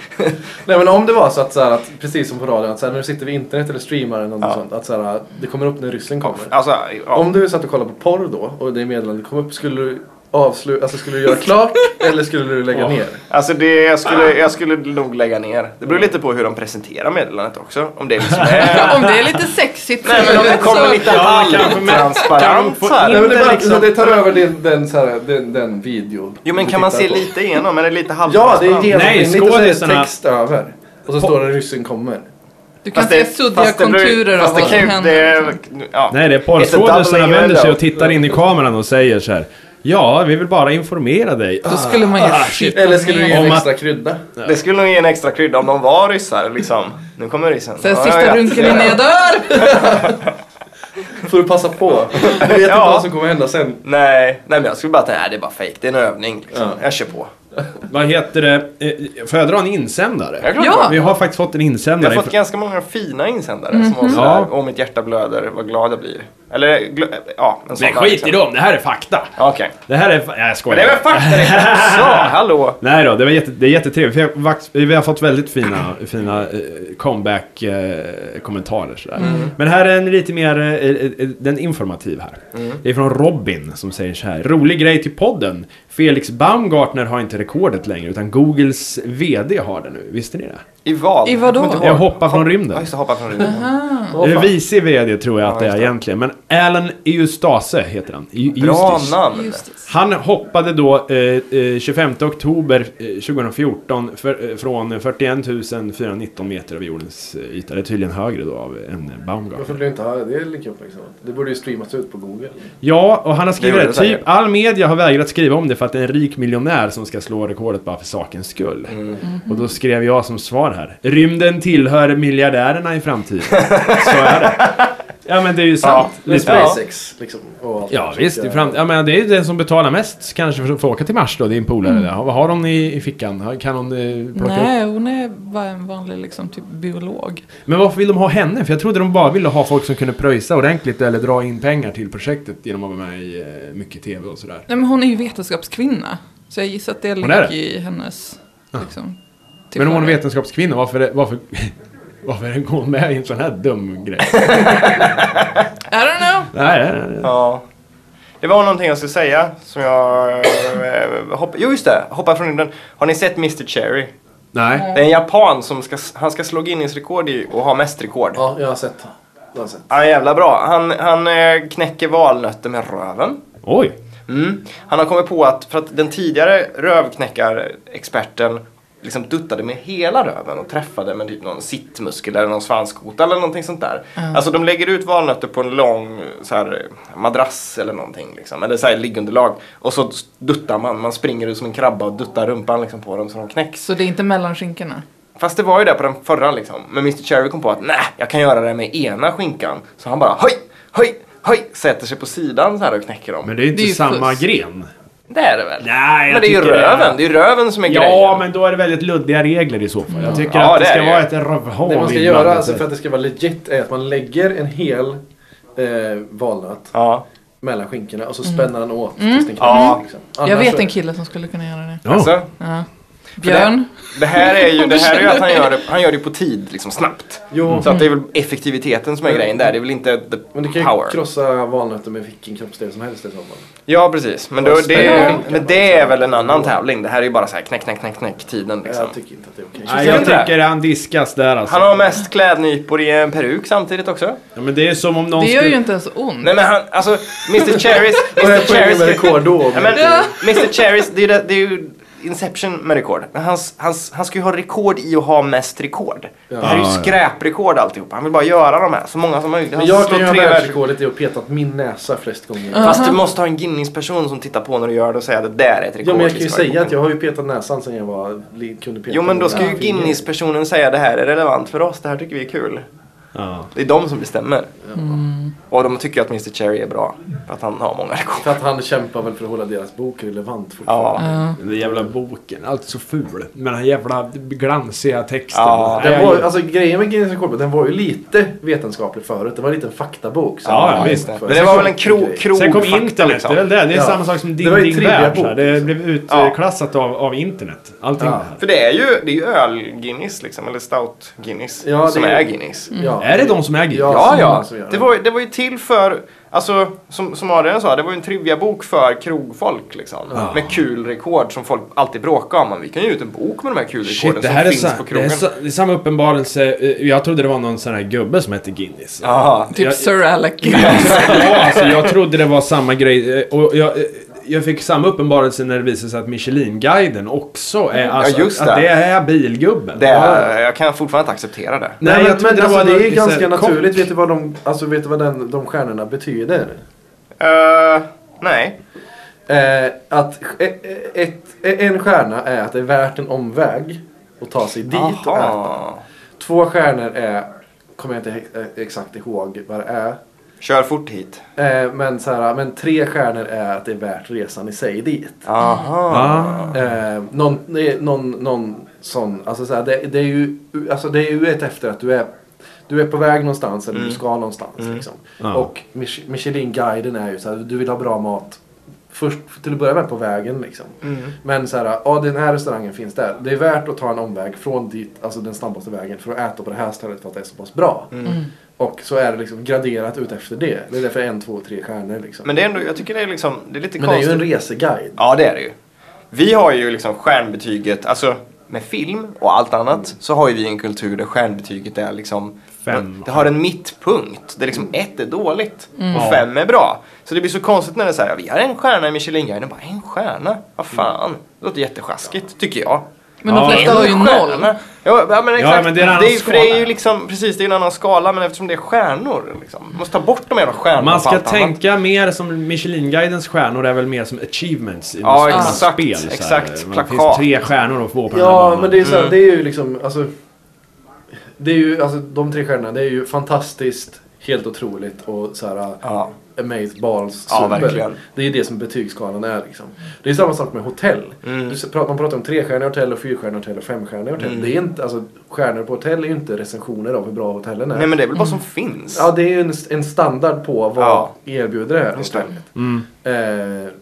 S4: Nej men om det var så att, så här, att precis som på radion, att så här, nu sitter vi internet eller streamar eller något
S1: Ja.
S4: sånt, att så här, det kommer upp när ryssen kommer.
S1: Alltså, ja.
S4: Om du satt och kollade på porr då och det meddelandet kom upp, skulle du avsluta, alltså skulle du göra
S1: [LAUGHS]
S4: klart eller skulle du lägga ner?
S1: alltså det, jag, skulle, jag skulle nog lägga ner. Det beror lite på hur de presenterar meddelandet också. Om det är
S4: [LAUGHS]
S1: liksom är...
S3: Om det är lite sexigt
S1: Nej men om det kommer
S3: så-
S1: lite
S2: Ja, kanske, men-
S1: halvtransparent
S2: kanske
S1: så här.
S4: Nej, men det,
S2: Inte
S4: bara,
S2: liksom-
S4: det tar över den, den, så här, den, den videon.
S1: Jo men
S4: du
S1: kan man
S4: tittar
S1: se
S4: på.
S1: lite igenom eller lite
S4: Ja, det är
S1: halvtransparent?
S4: genomskinligt och så är det
S2: skådisarna-
S4: text över. Och så står det ryssen kommer.
S3: Du kan se suddiga
S1: fast det beror-
S3: konturer av
S1: fast det
S3: vad som
S1: kan ju-
S3: händer.
S1: det-
S3: liksom.
S1: ja.
S2: Nej, det är
S1: It's a
S2: porrskådisarna
S1: doubling
S2: vänder sig
S1: window.
S2: och tittar in i kameran och säger så här. Ja, vi vill bara
S1: [LAUGHS]
S2: informera dig.
S3: Då skulle man ju...
S1: Ah,
S2: shit.
S4: Eller skulle du ge
S2: Om
S4: en
S2: att-
S4: extra krydda?
S1: Det skulle nog ge en extra krydda om de var ryssar liksom. Nu kommer ryssen.
S3: Sen
S1: Ja,
S3: sista
S1: ja, ja.
S3: runken innan jag dör!
S4: Får du passa på. Du vet inte
S1: Ja.
S4: vad som kommer hända sen.
S1: Nej, nej men jag skulle bara tänka, nej det är bara fejk, det är en övning. Liksom.
S4: Ja.
S1: Jag kör på.
S2: Vad heter det? Eh, Får jag dra en insändare?
S1: Jag är glad
S3: Ja.
S1: för det.
S2: Vi har faktiskt fått en
S1: Jag
S2: insändare.
S1: har fått ganska många fina insändare
S3: Mhm.
S1: som var
S2: Ja.
S1: sådär, åh mitt hjärta blöder, vad glad jag blir. Eller, gl- ja, en sån
S2: Nej,
S1: där
S2: skit i
S1: liksom.
S2: dem. Det här är fakta.
S1: Ja, Okej.
S2: Det här är... fa- Nej, jag
S1: Men
S2: skojar.
S1: det var fakta det Så, hallå!
S2: Nej då, det, var jätte, det är jättetrevligt. Vi har, vax- vi har fått väldigt fina, fina eh, comeback-kommentarer. sådär.
S1: Mm.
S2: Men här är en lite mer, eh, eh, den informativ här.
S1: Mm.
S2: Det är från Robin som säger så här. Rolig grej till podden. Felix Baumgartner har inte rekordet längre utan Googles VD har det nu. Visste ni det?
S1: I vad?
S3: I vadå?
S1: Jag kommer inte
S2: Jag
S1: ihåg.
S2: hoppar från
S1: Ja,
S2: rymden.
S1: just det, hoppa från rymden.
S2: Eller vice VD tror jag att
S1: Ja,
S2: det
S1: just
S2: är
S1: det.
S2: egentligen. Men Alan Eustase heter han. E-
S1: Bra
S2: Eustace.
S1: namn!
S2: Han hoppade då eh, eh, 25 oktober eh, 2014 för, eh, från 41 419 meter över jordens eh, yta. Det är tydligen högre då av en
S4: Varför
S2: Baumgartner.
S4: blir det inte här? Det är lika uppmärksammat. Det borde ju streamas ut på Google.
S2: Ja, och han har skrivit
S1: Det
S2: det.
S1: gjorde det
S2: Typ
S1: säkert.
S2: all media har vägrat skriva om det för att det är en rik miljonär som ska slå rekordet bara för sakens skull.
S1: Mm.
S2: Och då skrev jag som svar här. Rymden tillhör miljardärerna i framtiden. Så är det.
S1: [LAUGHS]
S2: Ja men det är ju sant.
S1: Ja, det är
S2: Lite-
S1: sant.
S4: SpaceX liksom. Och allt
S2: Ja
S4: sånt.
S2: visst, i fram- ja, men det är ju den som betalar mest kanske för att få åka till Mars då, din polare. där. Vad har hon i, i fickan? Kan hon eh, plocka upp?
S3: Nej, hon är bara en vanlig liksom, typ biolog.
S2: Men varför vill de ha henne? För jag trodde de bara ville ha folk som kunde pröjsa ordentligt eller dra in pengar till projektet genom att vara med i eh, mycket TV och sådär.
S3: Nej, men hon är ju vetenskapskvinna. Så jag gissar att det
S2: Hon är
S3: ligger
S2: det?
S3: i hennes... Liksom,
S2: men om hon är
S3: tillvaro.
S2: vetenskapskvinna, varför, är- varför, [LAUGHS] varför går hon med i en sån här dum grej?
S3: I don't know.
S2: nej, nej, nej.
S1: Ja. Det var någonting jag skulle säga som jag... Eh, hopp, jo, just det. Hoppa från rymden. Har ni sett Mr Cherry?
S2: nej.
S1: Det är en japan som ska, han ska slå Guinness-rekord i och ha mest rekord.
S4: Ja, jag har sett. Jag har sett.
S1: Han är jävla bra. Han, han eh, knäcker valnötter med röven.
S2: Oj.
S1: Mm. Han har kommit på att, för att den tidigare rövknäckarexperten liksom duttade med hela röven och träffade med typ någon sittmuskel eller någon svanskota eller någonting sånt där. Alltså de lägger ut valnötter på en lång så här, madrass eller någonting liksom, eller så här liggunderlag. Och så duttar man, man springer ut som en krabba och duttar rumpan liksom på dem så de knäcks.
S3: Så det är inte mellan skinkorna?
S1: Fast det var ju det på den förra liksom. Men Mr Cherry kom på att nej, jag kan göra det med ena skinkan. Så han bara höj, höj, höj, sätter sig på sidan så här och knäcker dem.
S2: Men det är inte
S3: Det är ju
S2: samma
S3: fusk.
S2: gren.
S1: Det är det väl?
S2: Nej, jag
S1: men det är ju
S2: tycker det är-
S1: röven. Det är ju röven som är grejen.
S2: Ja, men då är det väldigt luddiga regler i så fall. Jag tycker
S1: Ja,
S2: att det,
S1: det är
S2: ska
S1: det ju.
S2: vara ett rövhål
S4: Det man ska
S2: inblandat
S4: göra alltså,
S2: där.
S4: för att det ska vara legit är att man lägger en hel eh, valnöt
S1: Ja.
S4: mellan skinkorna och så spänner han åt tills den
S1: Ja.
S4: knäcks. Liksom.
S3: Mm.
S4: Annars
S3: jag vet
S4: så-
S3: en kille som skulle kunna göra det.
S2: Ja.
S1: Alltså,
S3: Ja. Björn?
S1: det här är ju, det här är ju att han gör det, han gör det på tid, liksom snabbt.
S4: Jo,
S1: Så att det är väl effektiviteten som är grejen där. Det är väl inte the
S4: men du kan ju
S1: power.
S4: krossa valnötter med vilken kroppsdel som helst i så fall.
S1: Ja, precis. Men, då,
S4: Och
S1: det, är,
S4: spänna.
S1: men det är väl en annan tävling. Det här är ju bara så här knäck, knäck, knäck, knäck, tiden liksom.
S4: Jag tycker inte att det är okej.
S2: Nej,
S1: Ser
S2: jag
S1: du det?
S2: tycker han diskas där alltså.
S1: Han har mest klädnypor i en peruk samtidigt också.
S2: Ja, men det är som om någon
S3: Det gör
S2: skulle-
S3: ju inte ens ont.
S1: Nej men han, alltså Mr
S4: [LAUGHS]
S1: Cherries,
S4: Jag
S1: Mr
S4: är på egen med
S1: Cherries
S4: rekord då.
S1: Ja, men, Mr Cherries, det är, ju det, det är ju Inception med rekord. Men han, han, han ska ju ha rekord i att ha mest rekord. Det här är ju
S2: Ja, ja.
S1: skräprekord alltihopa. Han vill bara göra de här, så många som möjligt. Han
S4: Ah, Men jag
S1: slår
S4: kan ju ha
S1: tre världsrekord.
S4: världsrekordet i att peta åt min näsa flest gånger.
S1: Fast du måste ha en Guinness-person som tittar på när du gör det och säger att det där är ett rekord.
S4: Ja men jag kan ju
S1: liksom.
S4: säga att jag har ju petat näsan sen jag var, li- kunde peta
S1: Jo men då
S4: med
S1: ska ju
S4: mina fingrar.
S1: Guinness-personen säga att det här är relevant för oss, det här tycker vi är kul.
S2: Ja.
S1: Det är de som bestämmer. Och de tycker att Mr Cherry är bra, för att han har många rekord.
S4: För att han kämpar väl för att hålla deras bok relevant fortfarande.
S1: Ja.
S3: Ja.
S2: Den där jävla boken, allt så ful. Med den här jävla glansiga texten.
S1: Ja,
S4: Den var, alltså, grejen med Guinness rekord, den var ju lite vetenskaplig förut. Det var en liten faktabok. som-
S2: Ja, ja,
S1: Just det. Men det var väl en kro, kro
S2: Sen kom
S1: fakta,
S2: internet,
S1: liksom.
S2: det är väl det. Det är
S4: Ja.
S2: samma sak som
S4: Det var
S2: Ding
S4: ju
S2: Ding
S4: trivia
S2: Värld.
S4: bok,
S2: så här. Det
S4: liksom.
S2: blev
S1: Ja.
S2: utklassat av, av internet. Allting
S4: Ja.
S2: det här.
S1: För det är ju, det är ju öl-Guinness liksom, eller stout-Guinness,
S4: Ja, det
S1: som
S4: är-
S1: är Guinness.
S4: Ja.
S2: Är det de som äger?
S4: Ja.
S1: Ja,
S4: som
S1: ja.
S4: man som gör
S1: Det
S4: det.
S1: var, ju- det var ju till för, alltså, som, som Adrian sa, det var ju en triviabok för krogfolk liksom. Med kul rekord som folk alltid bråkar om. Men vi kan ju ge ut en bok med de här kulrekorden
S2: Shit, det
S1: som
S2: här är,
S1: finns
S2: sa,
S1: på
S2: det,
S1: krogen.
S2: är sa, det är samma uppenbarelse. Eh, Jag trodde det var någon sån här gubbe som hette Guinness.
S1: Ja.
S3: Typ
S2: Jag-
S3: Sir Alec.
S2: Ja, alltså, jag trodde det var samma grej. eh, Och jag, eh, jag fick samma uppenbarelse när det visade sig att Michelin-guiden också är... Alltså,
S1: just
S2: Att
S1: det.
S2: det är bilgubben.
S1: Det är, jag kan fortfarande inte acceptera det.
S4: Nej,
S2: jag
S4: men,
S2: trodde
S4: men alltså,
S2: var
S4: det
S2: något
S4: är
S2: så
S4: ganska
S2: här
S4: naturligt.
S2: kock.
S4: Vet du vad de, alltså, vet du vad den, de stjärnorna betyder?
S1: Eh, nej.
S4: Eh, att eh, eh, ett, eh, en stjärna är att det är värt en omväg att ta sig dit och äta.
S1: Jaha.
S4: Två stjärnor är, kommer jag inte he- eh, exakt eh, ihåg vad det är.
S1: Kör fort hit.
S4: Eh, men, så här, men tre stjärnor är att det är värt resan i sig dit.
S1: Aha.
S4: Eh, någon, nej, någon, någon sån, alltså så här, det, det är ju alltså det är ju ett efter att du är, du är på väg någonstans eller du
S1: Mm.
S4: ska någonstans. Liksom.
S2: Ja.
S4: Och Mich- Michelin-guiden är ju så här, du vill ha bra mat. Först till att börja med på vägen liksom.
S1: Mm.
S4: Men så här, ja den här restaurangen finns där. Det är värt att ta en omväg från dit, alltså den snabbaste vägen för att äta på det här stället för att det är så pass bra.
S1: Mm.
S4: Och så är det liksom graderat ut efter det. Det är därför en, två, tre stjärnor liksom.
S1: Men det är ändå, jag tycker det är liksom, det är lite
S4: Men det är
S1: konstigt.
S4: ju en reseguide.
S1: Ja, det är det ju. Vi har ju liksom stjärnbetyget, alltså med film och allt annat så har ju vi en kultur där stjärnbetyget är liksom
S2: Fem.
S1: Det har en mittpunkt. Det är liksom ett är dåligt
S3: Mm.
S1: och
S2: Ja.
S1: fem är bra. Så det blir så konstigt när det är så här, ja, vi har en stjärna i Michelinguiden. Bara en stjärna? Vad fan? Det låter jättesjaskigt, tycker jag.
S3: Men de
S2: Mm. Ja,
S3: flesta har ju
S1: En
S3: noll.
S1: stjärna. Ja, ja, men exakt.
S2: men det är en annan
S1: ju- för det är
S2: skala.
S1: ju liksom, precis, det är en annan skala. Men eftersom det är stjärnor liksom. Man måste ta bort de jävla stjärnorna
S2: Man
S1: på
S2: ska
S1: allt annat.
S2: tänka mer som Michelin-guidens stjärnor är väl mer som achievements i
S1: Ja,
S2: något
S1: exakt,
S2: spel. så här.
S1: exakt,
S2: Man- Det
S1: plakat.
S2: finns tre stjärnor att få på den här
S4: Ja,
S2: banan.
S4: men det är, så här, det är ju liksom, alltså, det är ju, alltså de tre stjärnorna, det är ju fantastiskt, helt otroligt och så här
S1: Ja.
S4: amazed balls
S1: Ja,
S4: super.
S1: verkligen.
S4: det är det som betygsskalan är liksom. Det är samma sak med hotell.
S1: Mm.
S4: Du s- pratar, man pratar om trestjärniga hotell och fyrstjärniga hotell och femstjärniga hotell. Det är inte, alltså stjärnor på hotell är ju inte recensioner av hur bra hotellen är.
S1: Nej men det är väl vad som finns.
S4: Ja, det är ju en, en standard på vad
S1: Ja.
S4: erbjuder det här
S1: Just det.
S4: hotellet. Eh,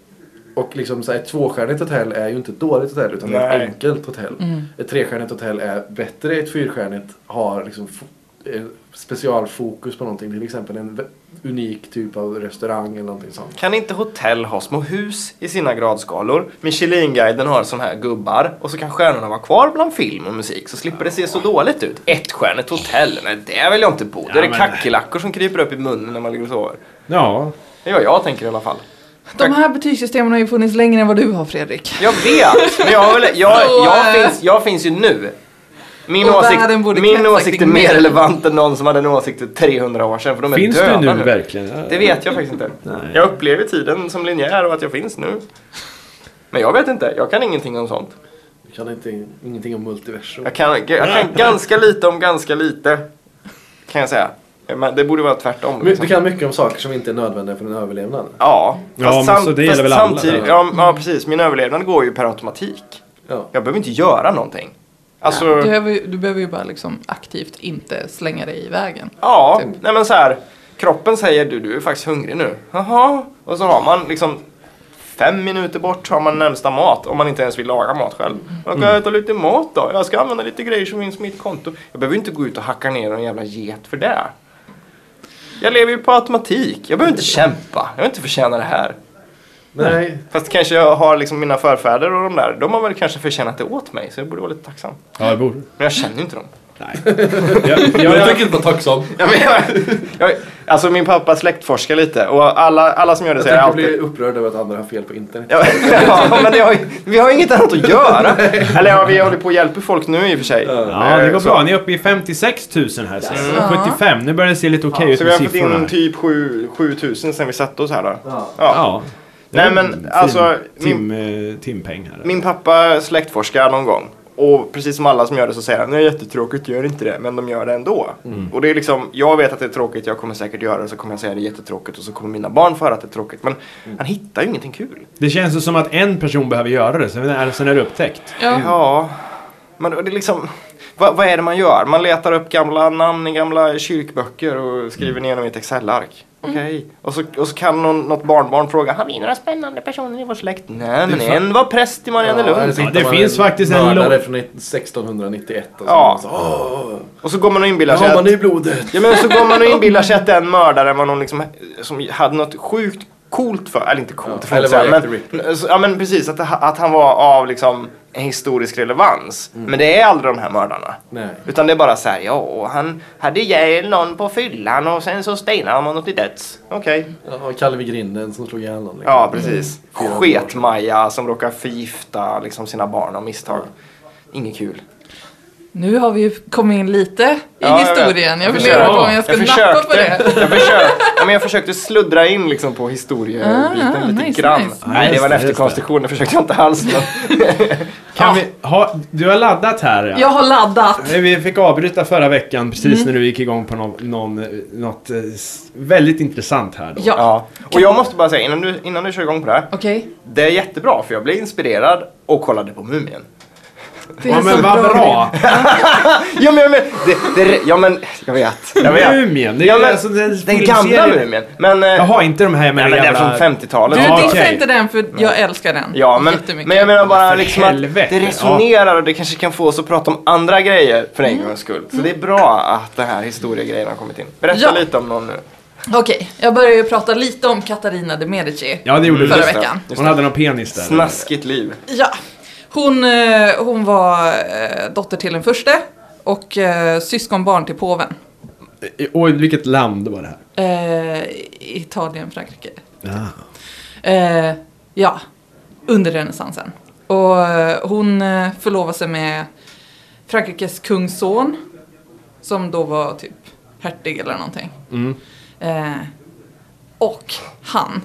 S4: och liksom så här, ett tvåstjärnigt hotell är ju inte ett dåligt hotell utan det är
S1: Nej.
S4: ett enkelt hotell.
S1: Mm.
S4: Ett trestjärnigt hotell är bättre, ett fyrstjärnigt har liksom fo- eh, specialfokus på någonting. Till exempel en v- unik typ av restaurang eller någonting sånt.
S1: Kan inte hotell ha små hus i sina gradskalor? Michelinguiden har sån här gubbar och så kan stjärnorna vara kvar bland film och musik så slipper det se så dåligt ut. Ettstjärnigt hotell, nej där vill jag inte bo. Där är det
S2: men-
S1: kackerlackor som kryper upp i munnen när man ligger och sover.
S2: Ja,
S1: Det är vad jag tänker i alla fall.
S3: De här betygssystemen har ju funnits längre än vad du har Fredrik.
S1: Jag vet, men jag, har väl, jag,
S3: Så,
S1: jag,
S3: eh,
S1: finns, jag finns ju nu. Min,
S3: och världen
S1: åsikt,
S3: borde
S1: min
S3: kretsa
S1: åsikt är
S3: kring
S1: mer
S3: mig.
S1: relevant än någon som hade en åsikt för 300 år sedan för de är
S2: finns
S1: döda
S2: du nu verkligen?
S1: Det vet jag faktiskt inte. Jag upplever tiden som linjär och att jag finns nu. Men jag vet inte, jag kan ingenting om sånt.
S4: Jag kan inte, ingenting om multiversum.
S1: Jag kan, jag kan ganska lite om ganska lite. Kan jag säga. Men det borde vara tvärtom.
S4: Men
S1: Liksom.
S4: Du kan mycket om saker som inte är nödvändiga för en överlevnad.
S1: Ja,
S2: Ja, men så det gäller väl alla,
S1: samtidigt,
S4: eller?
S1: ja, ja, precis. Min överlevnad går ju per automatik.
S4: Ja.
S1: Jag behöver inte göra någonting. Alltså,
S3: Du
S1: ja,
S3: behöver, ju- du behöver ju bara liksom aktivt inte slänga dig i vägen. typ.
S1: nej men så här. Kroppen säger du, du är faktiskt hungrig nu. Jaha. Och så har man liksom fem minuter bort har man närmsta mat om man inte ens vill laga mat själv. Jag kan äta lite mat då. Jag ska använda lite grejer som finns på mitt konto. Jag behöver inte gå ut och hacka ner en jävla get för det. Jag lever ju på automatik. Jag behöver inte kämpa. Jag behöver inte förtjäna det här.
S4: Nej,
S1: Fast kanske jag har liksom mina förfäder och de där. De har väl kanske förtjänat det åt mig. Så jag borde vara lite tacksam.
S2: Ja,
S1: [LAUGHS]
S2: det borde
S1: Men jag känner ju inte dem.
S2: jag,
S4: jag
S2: jag,
S4: tänker inte vara tacksam.
S1: Ja, men jag, jag, alltså min pappa släktforskar lite och alla, alla som gör det
S4: Jag
S1: säger
S4: tänker
S1: alltid...
S4: bli upprörd över att andra har fel på internet.
S1: Ja, [LAUGHS] ja, men det har, ju- vi har ju inget annat
S2: [LAUGHS]
S1: att göra. Eller ja, vi håller på att hjälpa folk nu i och för sig. Eh,
S2: Ja, det var
S1: Så.
S2: bra. Ni är uppe i 56 000 här sen.
S3: Ja.
S2: 75. Nu börjar det se lite okej ut
S1: Så vi
S2: med
S1: har fått
S2: siffrorna.
S1: in
S2: här.
S1: typ 7 7000 sen vi satte oss här då.
S4: Ja.
S2: Ja. Det är
S1: Nej
S2: en
S1: men
S2: fin
S1: alltså, min,
S2: Tim, eh, timpeng här.
S1: min pappa släktforskar någon gång. Och precis som alla som gör det så säger han, det är jättetråkigt, gör inte det. Men de gör det ändå.
S2: Mm.
S1: Och det är liksom, jag vet att det är tråkigt, jag kommer säkert göra det. Så kommer jag säga det är jättetråkigt och så kommer mina barn få höra att det är tråkigt. Men
S2: Mm.
S1: han hittar ju ingenting kul.
S2: Det känns ju som att en person behöver göra det, sen är, sen är det upptäckt.
S3: Ja.
S1: Ja, men det är liksom... Vad, vad är det man gör? Man letar upp gamla namn i gamla kyrkböcker och
S4: Mm.
S1: skriver ner dem i ett Excel-ark. Okej. Och, så, och så kan någon, något barnbarn fråga, har vi några spännande personer i vår släkt? Nej, men
S4: fan-
S1: en var präst i Mariannelund.
S4: eller
S2: Ja,
S4: så
S2: det
S4: hittar man
S2: finns faktiskt en
S4: mördare
S2: lång-
S4: från 1691 och så.
S1: Ja.
S4: Och så "Åh,
S1: och så går man och inbillar
S4: det
S1: sig
S4: har
S1: att...
S4: man i blodet.
S1: Ja, men så går
S4: [LAUGHS]
S1: man och inbillar sig att den mördaren var någon liksom, som hade något sjukt coolt för, eller inte coolt, ja,
S4: Ja, eller var Jack the
S1: men, så- ja men precis, att, det- att han var av liksom en historisk relevans.
S4: Mm.
S1: Men det är aldrig de här mördarna.
S4: Nej.
S1: Utan det är bara så här, ja, och han hade ihjäl någon på fyllan och sen så stenade han honom till döds. Okej.
S4: Ja, Kalle vid grinden som slog ihjäl någon. liksom.
S1: Ja, precis.
S4: Fyra år.
S1: Sketmaja som råkar förgifta liksom, sina barn av misstag. Inget kul.
S3: Nu har vi ju kommit in lite i
S1: Ja, jag vet.
S3: historien. Jag
S1: Jag
S3: funderar på
S1: försökte.
S3: om jag ska
S1: Jag
S3: nappa på
S1: försökte.
S3: det.
S1: Jag försökte, ja, men jag försökte sluddra in liksom på historiebiten
S3: Ah,
S1: lite
S3: nice,
S1: grann.
S3: nice.
S1: Nej, det var en
S2: Just det,
S1: efterkonstruktion. Det försökte jag inte alls.
S2: Kan
S3: Ja.
S2: vi, ha, du har laddat här ja.
S3: Jag har laddat.
S2: Nej, Vi fick avbryta förra veckan precis
S3: Mm.
S2: när du gick igång på någon, någon, eh, något eh, s- väldigt intressant här då.
S3: [LAUGHS] Ja,
S1: Ja. Och jag måste bara säga innan du, innan du kör igång på det här.
S3: okej.
S1: Det är jättebra för jag blev inspirerad och kollade på Mumien.
S3: Det är
S2: ja men
S3: så
S2: vad bra!
S1: Ja men, men, det, det, ja, men jag vet. Jag vet.
S2: Mumien! Det är
S1: Ja,
S2: ju
S1: men,
S2: alltså en
S1: den
S2: filmserie.
S1: gamla Mumien. Men, eh,
S2: Jaha, inte de här med
S1: nej, men
S2: den
S1: den
S2: jävla...
S1: från 50-talet.
S3: Du
S2: Ja,
S3: dissar
S2: okej.
S3: inte den för jag älskar den
S1: Ja, men,
S3: jättemycket.
S1: men jag menar bara
S2: för
S1: liksom att
S2: helvete,
S1: det resonerar och det kanske kan få oss att prata om andra grejer för en gångs skull. Så det är bra att den här historiegrejen har kommit in. Berätta
S3: Ja.
S1: lite om någon nu.
S3: Okej, jag börjar ju prata lite om Katarina de Medici.
S2: Ja, det gjorde
S3: Förra
S2: du.
S1: Just det,
S3: veckan.
S1: just
S2: Hon
S1: det.
S2: hade någon penis där.
S1: Snaskigt liv.
S3: Ja, hon, eh, hon var eh, dotter till den förste och eh, syskonbarn till påven.
S2: Och vilket land var det här?
S3: Eh, Italien, Frankrike. Eh, ja, under renässansen. Och eh, hon eh, förlovade sig med Frankrikes kungsson som då var typ hertig eller någonting. Eh, och han.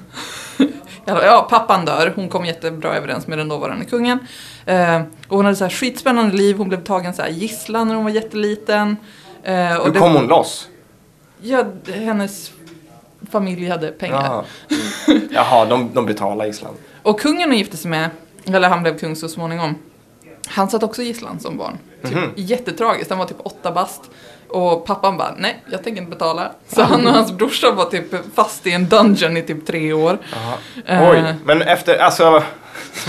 S3: [LAUGHS] Ja, ja, pappan dör. Hon kom jättebra överens med den dåvarande kungen. Eh, och hon hade så här skitspännande liv. Hon blev tagen så här gisslan när hon var jätteliten. Eh, och
S1: Hur
S3: det-
S1: kom hon loss?
S3: Ja, d- hennes familj hade pengar.
S1: Jaha, Mm. Jaha de, de betalar Island.
S3: Och kungen hon gifte sig med, eller han blev kung så småningom, han satt också i gisslan som barn. Typ, Jättetragiskt, han var typ åtta bast. Och pappan bara, nej, jag tänker inte betala. Så han och hans brorsa var typ fast i en dungeon i typ tre år. Eh,
S1: Oj, men efter, alltså, [LAUGHS]
S2: [LAUGHS]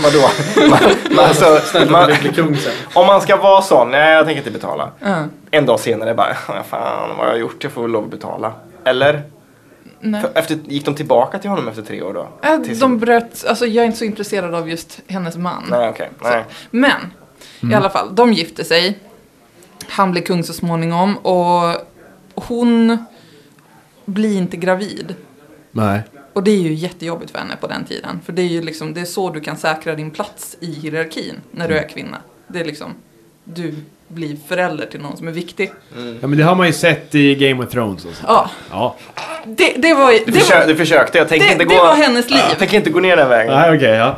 S1: vadå? Man, man, alltså, man,
S4: Snälla, bli kung sen.
S1: om man ska vara sån, nej jag tänker inte betala.
S3: eh,
S1: En dag senare bara, "Ja, fan vad har jag gjort? Jag får väl lov att betala. Eller?
S3: nej.
S1: För Efter, gick de tillbaka till honom efter tre år då?
S3: Eh,
S1: Till sin-
S3: De bröt, alltså jag är inte så intresserad av just hennes man.
S1: Nej, okej. Nej.
S3: Men i alla fall, de gifte sig. Han blev kung så småningom och hon blir inte gravid.
S2: Nej.
S3: Och det är ju jättejobbigt för henne på den tiden. För det är ju liksom, det är så du kan säkra din plats i hierarkin när du är kvinna. Det är liksom, du blir förälder till någon som är viktig.
S2: Ja, men det har man ju sett i Game of Thrones och så.
S3: Ja,
S2: Ja.
S3: det, det var... Det,
S1: Du, försö-
S3: var,
S1: du försökte, jag tänker
S3: det,
S1: inte
S3: det
S1: gå...
S3: var hennes liv.
S1: jag tänker inte gå ner den vägen.
S2: Nej, okej, ja.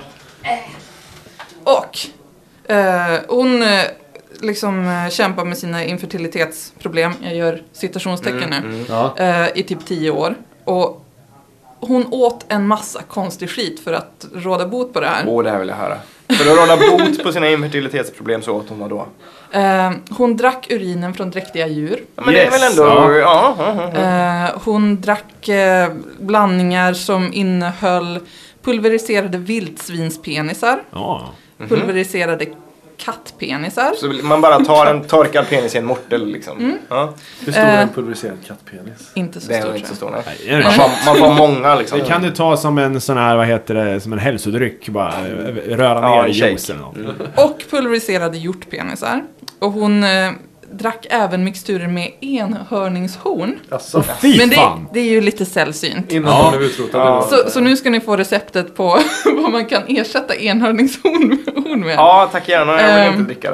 S3: Och eh, hon eh, liksom eh, kämpar med sina infertilitetsproblem, jag gör
S1: Mm,
S3: citationstecken nu,
S2: ja.
S3: eh, i typ tio år. Och hon åt en massa konstig skit för att råda bot på det här.
S1: Åh, det här vill jag höra. För att råda bot på sina infertilitetsproblem så åt hon vad då?
S3: Eh, hon drack urinen från dräktiga djur.
S1: Ja, Men det är
S2: Yes,
S1: väl ändå...
S2: ja.
S1: Ja. ja, ja.
S3: Eh, hon drack eh, blandningar som innehöll pulveriserade vildsvinspenisar,
S2: Ja.
S1: Mhm.
S3: pulveriserade kattpenisar.
S1: Så man bara tar en torkad penis i en mortel liksom.
S3: Mm.
S1: Ja.
S4: Hur stor
S3: Eh.
S4: är en pulveriserad kattpenis?
S3: Inte så
S1: Det är
S3: stort.
S1: väl inte så
S3: tror jag.
S1: stor, nej.
S2: Är
S1: Man
S2: det-
S1: får, man får många liksom.
S2: Det kan du ta som en sån här, vad heter det, som en hälsodryck bara. eh, Röra
S1: Ja,
S2: ner i
S1: en shake.
S2: juice eller något.
S4: Mm.
S3: Och pulveriserade hjortpenisar. Och hon eh, drack även mixturer med enhörningshorn.
S4: Alltså,
S2: Fy
S3: Men det,
S2: fan!
S3: det är ju lite sällsynt.
S4: innan
S2: Ja.
S4: de blev utrotade.
S1: Ja.
S4: då.
S3: Så, så nu ska ni få receptet på [LAUGHS] vad man kan ersätta enhörningshorn horn med.
S1: Ja, tack gärna. Jag vill
S3: Ehm.
S1: inte dricka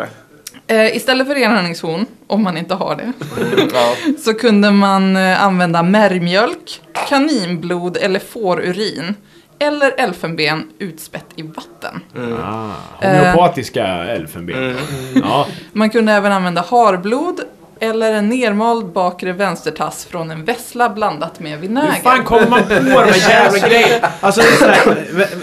S1: det.
S3: Eh, istället för enhörningshorn, om man inte har det,
S1: Ja.
S3: så kunde man eh, använda märgmjölk, kaninblod eller fårurin. Eller elfenben utspätt i vatten.
S2: Ah,
S3: Eh.
S2: homeopatiska elfenben.
S4: Mm.
S2: Ja.
S3: Man kunde även använda harblod eller en nermald bakre vänstertass från en vessla blandat med vinäger.
S2: Hur fan kommer man på de här jävla grejerna? Alltså det är sådär,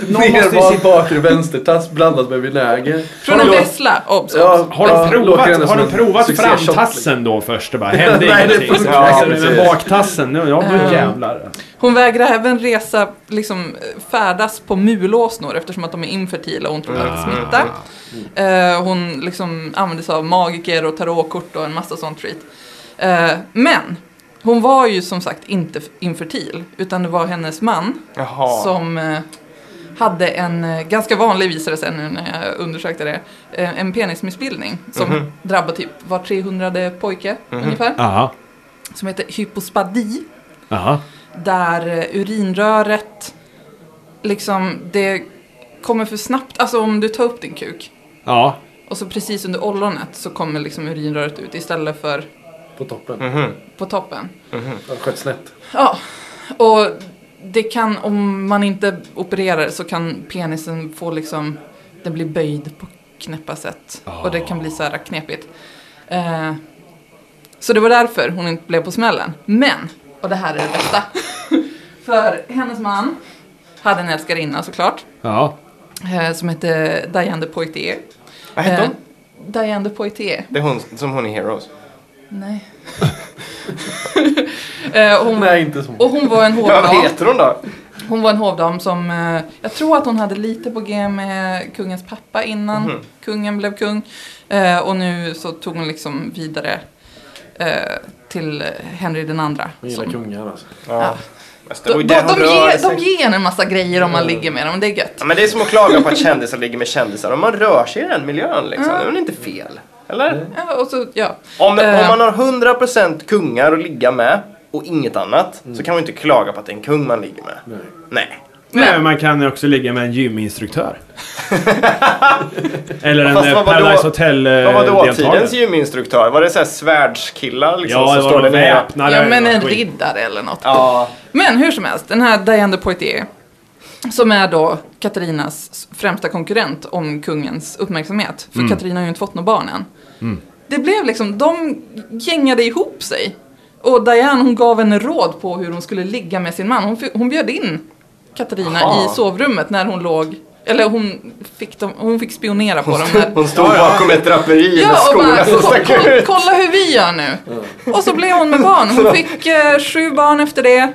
S2: någon måste ju
S4: Nervald
S2: sitta...
S4: bakre vänstertass blandat med vinäger.
S3: Från en
S4: Förlåt.
S3: vessla, Oh, obs!
S4: Ja,
S2: Har
S4: ja,
S2: de provat,
S4: låter ändå
S2: har
S4: som
S2: de
S4: en
S2: provat
S4: succé-shot, liksom.
S2: framtassen då först? Det
S4: [LAUGHS]
S2: bara hände
S4: Nej, det
S2: ingenting.
S4: funkar
S2: Ja,
S1: inte.
S2: men baktassen, nu, ja
S3: Ehm.
S2: då jävlar.
S3: Hon vägrar även resa, liksom färdas på mulåsnor eftersom att de är infertila och hon tror att det smittar. Eh, hon liksom använder sig av magiker och tarotkort och en massa sånt skit. Eh, men hon var ju som sagt inte infertil utan det var hennes man
S1: Jaha.
S3: som eh, hade en eh, ganska vanlig, visade det sig nu när jag undersökte det, eh, en penismissbildning som drabbar typ var 300 pojke ungefär.
S2: Aha,
S3: Som heter hypospadi,
S2: aha.
S3: där eh, urinröret liksom, det kommer för snabbt, alltså om du tar upp din kuk
S2: Ja,
S3: Och så precis under ollonet så kommer liksom urinröret ut istället för
S4: på toppen.
S1: Mhm.
S3: på toppen.
S4: Den sköt snett.
S3: Ja, och det kan, om man inte opererar så kan penisen få liksom, den blir böjd på knäppa sätt. Och det kan bli så här knepigt. Eh, så det var därför hon inte blev på smällen. Men, och det här är det bästa. [LAUGHS] För hennes man hade en älskarinna såklart.
S2: Ja.
S3: Eh, som hette Diane de Poitier.
S1: Vad hette
S3: Eh,
S1: hon?
S3: Diane de Poitier.
S1: Det är hon som hon i Heroes.
S3: Nej. [LAUGHS] eh, hon,
S4: Nej, inte så.
S3: och hon var en
S1: Ja, vad
S3: hovdam.
S1: heter hon då?
S3: Hon var en hovdam som, eh, jag tror att hon hade lite på g med kungens pappa innan
S1: Mhm.
S3: kungen blev kung. Eh, och nu så tog hon liksom vidare eh, till Henry den andra.
S4: Jag gillar kungar alltså.
S1: Ja.
S3: Ja.
S1: Alltså,
S3: De,
S1: det var
S3: de,
S1: ju
S3: de,
S1: där hon rörde
S3: ger,
S1: sig. Mm.
S3: de ger en en massa grejer om man ligger med dem, det är gött.
S1: Ja, men det är som att klaga på att kändisar ligger med kändisar. Om man rör sig i den miljön liksom,
S3: Mm.
S1: det är väl inte fel? Eller?
S3: Ja, och så, ja.
S1: Om, om
S3: Eh.
S1: man har 100% kungar att ligga med och inget annat så kan man ju inte klaga på att det är en kung man ligger med. Mm. Nej.
S2: Nej, men Eh, man kan ju också ligga med
S1: [LAUGHS]
S2: en gyminstruktör. Eller en
S1: Fast
S2: eh,
S1: vad var då-
S2: Paradise Hotel eh,
S1: Vad var då
S2: deltagare.
S1: tidens gyminstruktör? Var det såhär svärdskillar liksom?
S2: Ja,
S1: som
S2: det
S1: står
S2: var
S1: där
S2: någon
S1: nere?
S2: väpnare.
S3: ja, men
S2: och
S3: en
S2: skit.
S3: riddare eller något.
S1: Ja.
S3: Men hur som helst, den här Diane de Poitier, som är då Katarinas främsta konkurrent om kungens uppmärksamhet, för Katarina har ju inte fått något barn än. Det blev liksom, de gängade ihop sig. Och Diane hon gav henne råd på hur hon skulle ligga med sin man. Hon, fi- hon bjöd in Katarina
S1: Aha.
S3: i sovrummet när hon låg, eller hon fick, dem, hon fick spionera på dem. När,
S1: Hon stod bakom ett draperi med
S3: Ja, och
S1: skorna
S3: bara,
S1: som
S3: "Ko-
S1: stack
S3: ko-
S1: ut.
S3: kolla hur vi gör nu. Och så blev hon med barn. Hon fick eh, sju barn efter det.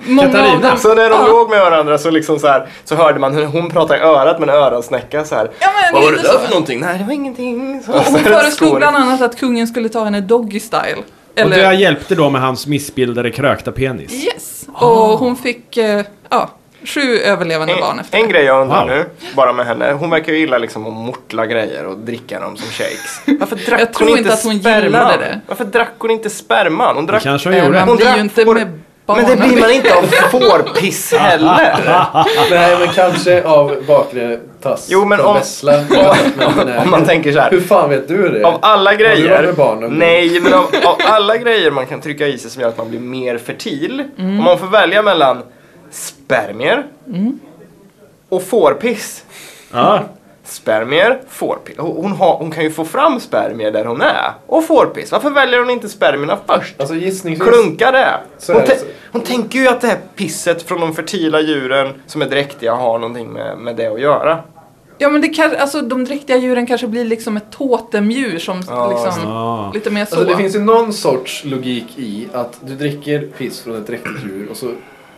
S3: Många av
S2: Katarina.
S3: dem.
S1: Så när de
S3: ja.
S1: låg med varandra så, liksom så, här, så hörde man hur hon pratade i örat med en öronsnäcka så här.
S3: Ja, men
S1: Vad var det
S3: lite
S1: där
S3: så.
S1: för någonting? Nej, det var ingenting. Så,
S3: Och
S1: så
S3: hon
S1: här,
S3: föreslog
S1: skor.
S3: bland annat att kungen skulle ta henne doggy style.
S2: Och det
S3: Eller,
S2: hjälpte då med hans missbildade krökta penis.
S3: yes. Och hon fick eh, ja, sju överlevande barn
S1: En,
S3: efter
S1: en grej jag undrar
S2: Wow.
S1: nu, bara med henne. Hon verkar ju gilla liksom att mortla grejer och dricka dem som shakes. Varför drack
S3: [LAUGHS] Jag tror
S1: hon
S3: inte att hon gillade
S1: sperman?
S3: det.
S1: Varför drack hon inte sperman? Hon drack...
S2: kanske hon
S3: Eh,
S2: gjorde.
S3: man blir ju inte
S1: får-
S3: med barn.
S1: Men det blir man inte av fårpiss heller.
S4: Nej, men kanske av bakre tass.
S1: Jo, men
S4: Av
S1: om-
S4: [LAUGHS] Vessla.
S1: Om man tänker så här.
S4: Hur fan vet du det?
S1: Av alla
S4: Har du
S1: grejer,
S4: varit barn någon gång?
S1: nej men av, av alla grejer man kan trycka i sig som gör att man blir mer fertil. Om man får välja mellan spermier och fårpiss.
S2: Ja.
S1: Spermier, fårpiss. Hon, hon har, hon kan ju få fram spermier där hon är. Och fårpiss. Varför väljer hon inte spermierna först?
S4: Alltså gissningsvis.
S1: Klunka det!
S4: Så
S1: Hon,
S4: är det,
S1: tän-
S4: så-
S1: hon tänker ju att det här pisset från de fertila djuren som är dräktiga har någonting med, med det att göra.
S3: Ja men det kan, alltså, de dräktiga djuren kanske blir liksom ett totemdjur som
S1: Ja,
S3: liksom,
S2: Ja.
S3: lite mer så.
S4: Alltså det finns ju någon sorts logik i att du dricker piss från ett riktigt djur och så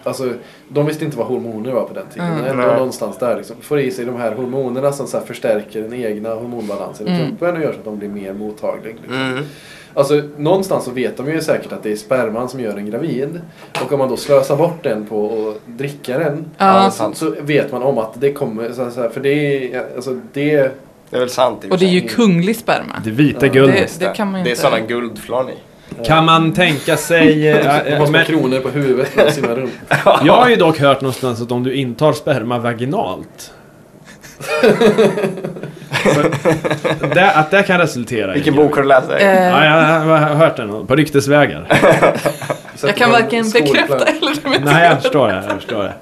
S4: Alltså, de visste inte vad hormoner var på den tiden.
S3: Mm.
S4: Det var
S1: Nej.
S4: någonstans där liksom. Får i sig de här hormonerna som så här förstärker den egna hormonbalansen i
S3: Mm.
S4: kroppen och gör så att de blir mer mottagliga. Liksom. Alltså, någonstans så vet de ju säkert att det är sperman som gör en gravid. Och om man då slösar bort den på att dricka den.
S3: Ja.
S4: Så, så vet man om att det kommer, så här, så här, för det är, alltså det
S1: Det är väl sant i och
S3: Och
S1: för
S3: det är
S1: sig.
S3: ju kunglig sperma.
S2: Det vita
S3: Det,
S2: guldet.
S3: det kan man ju
S1: Det är
S3: inte.
S1: sådana guldflarn i.
S2: Kan man tänka
S3: [LAUGHS]
S2: sig... eh,
S4: man
S2: eh,
S4: måste ha
S2: men-
S4: kronor på huvudet för att simma runt.
S2: Jag har ju dock hört någonstans att om du intar sperma
S3: [LAUGHS]
S2: vaginalt så, det, att det kan resultera
S1: Vilken
S2: i...
S1: bok har du läst?
S3: Eh,
S2: Ja, jag har hört den på ryktesvägar.
S3: jag kan varken bekräfta
S2: [LAUGHS]
S3: eller
S2: Nej, jag förstår det. Jag förstår det.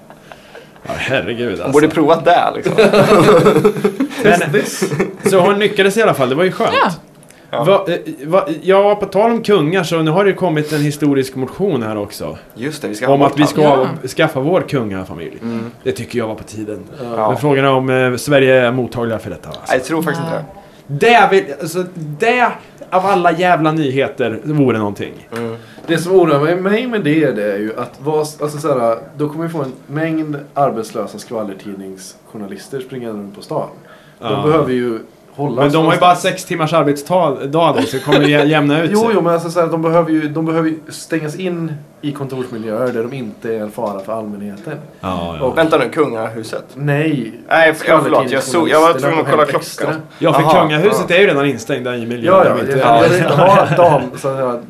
S2: Ja, herregud
S1: Hon
S2: alltså.
S1: borde provat det liksom.
S2: Men, så hon lyckades i alla fall, det var ju skönt.
S3: Ja.
S1: Ja.
S2: Va, eh, va, ja, på tal om kungar så nu har det ju kommit en historisk motion här också.
S1: [LAUGHS] Just det, vi ska ha
S2: Om att vi ska
S3: Ja.
S2: skaffa vår kungafamilj. Det tycker jag var på tiden.
S1: Ja.
S2: Men frågan är om eh, Sverige är mottagliga för detta.
S1: Nej,
S2: Alltså.
S1: jag tror faktiskt inte det.
S2: Det, vill, alltså, det av alla jävla nyheter vore någonting.
S1: Mm.
S4: Det som oroar mig- mig med det är, det är ju att vad, alltså så här, då kommer vi få en mängd arbetslösa skvallertidningsjournalister springande runt på stan. De
S2: Ja.
S4: behöver ju hålla
S2: Men de har ju bara sex timmars arbetsdag då, så det kommer det jä- jämna ut sig.
S4: Jo, jo, men alltså så här, de behöver ju de behöver ju stängas in i kontorsmiljöer där de inte är en fara för allmänheten.
S2: Ja, ja.
S4: Och-
S1: Vänta nu, kungahuset.
S4: Nej.
S1: Nej, f- ja, förlåt. Jag, såg, jag var
S4: Skvallertidningsjournalisterna
S1: tvungen att
S4: kom
S1: kolla
S4: hem extra.
S1: klockan.
S2: ja, för
S1: Aha,
S2: kungahuset
S1: ja.
S2: är ju redan instängt där i miljön.
S4: Ja, ja.
S2: vet
S4: Jag,
S2: du.
S4: jag vill inte ha dam, så här,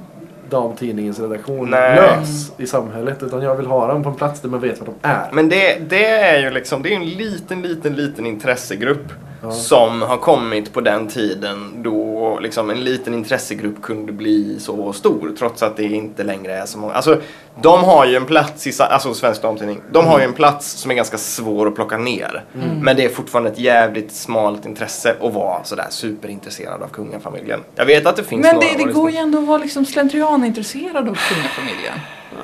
S4: damtidningens redaktion
S1: Nej.
S4: lös i samhället. Utan jag vill ha dem på en plats där man vet vad de är.
S1: Men det, det är ju liksom, det är ju en liten, liten, liten intressegrupp som har kommit på den tiden då liksom en liten intressegrupp kunde bli så stor trots att det inte längre är så många. Alltså, de har ju en plats i, sa- alltså Svensk Damtidning, de har ju en plats som är ganska svår att plocka ner.
S4: Mm.
S1: Men det är fortfarande ett jävligt smalt intresse att vara sådär superintresserad av kungafamiljen. Jag vet att det finns
S3: Men
S1: några
S3: det,
S1: av
S3: det
S1: lyssnarna.
S3: går ju ändå att vara liksom slentrianintresserad av kungafamiljen.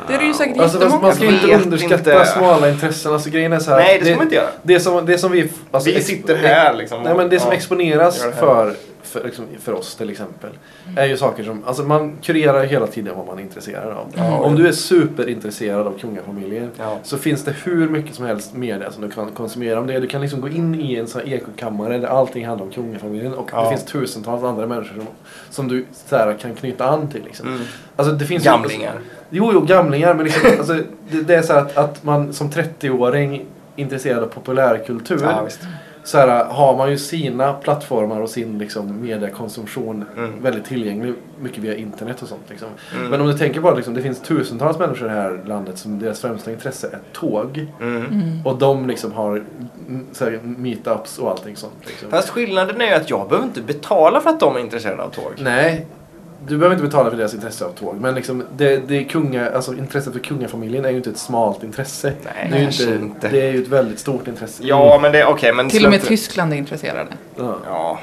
S3: Det är det ju säkert
S4: Alltså, fast
S3: jättemånga
S4: man ska
S3: som
S1: som
S4: inte
S1: vet
S4: underskatta
S1: inte.
S4: smala intressen. Alltså, grejen är så här,
S1: Nej, det ska man inte göra.
S4: Det som, det som vi... Alltså,
S1: Vi
S4: ex-
S1: sitter här liksom.
S4: Nej, men det som
S1: Ja.
S4: exponeras
S1: Gör det här.
S4: för, för, liksom, för oss till exempel är ju saker som... Alltså, man kurerar ju hela tiden vad man är intresserad av. Om du är superintresserad av kungafamiljen
S1: Ja.
S4: så finns det hur mycket som helst media som du kan konsumera om det. Du kan liksom gå in i en sån här ekokammare där allting handlar om kungafamiljen och
S1: Ja.
S4: det finns tusentals andra människor som, som du så här, kan knyta an till. Liksom.
S1: Mm.
S4: Alltså, det finns ju-
S1: Gamlingar.
S4: Jo, jo, gamlingar. Men liksom, alltså, det, det är så här att, att man som 30-åring intresserad av populärkultur
S1: Ja, visst.
S4: så här, har man ju sina plattformar och sin liksom, mediekonsumtion
S1: Mm.
S4: väldigt tillgänglig. Mycket via internet och sånt. Liksom.
S1: Mm.
S4: Men om du tänker bara liksom, det finns tusentals människor i det här landet som deras främsta intresse är tåg.
S1: Mm.
S4: Och de liksom har mm, så här, meetups och allting sånt. Liksom.
S1: Fast skillnaden är ju att jag behöver inte betala för att de är intresserade av tåg.
S4: Nej, du behöver inte betala för deras intresse av tåg. Men liksom, det, det är kunga, alltså, intresset för kungafamiljen är ju inte ett smalt intresse.
S1: Nej,
S4: det, är ju
S1: kanske
S4: inte,
S1: inte.
S4: det är ju ett väldigt stort intresse.
S1: Ja, men det, okej, men...
S3: Till och med
S1: släpp-
S3: Tyskland är intresserade.
S4: Ja.
S1: Ja.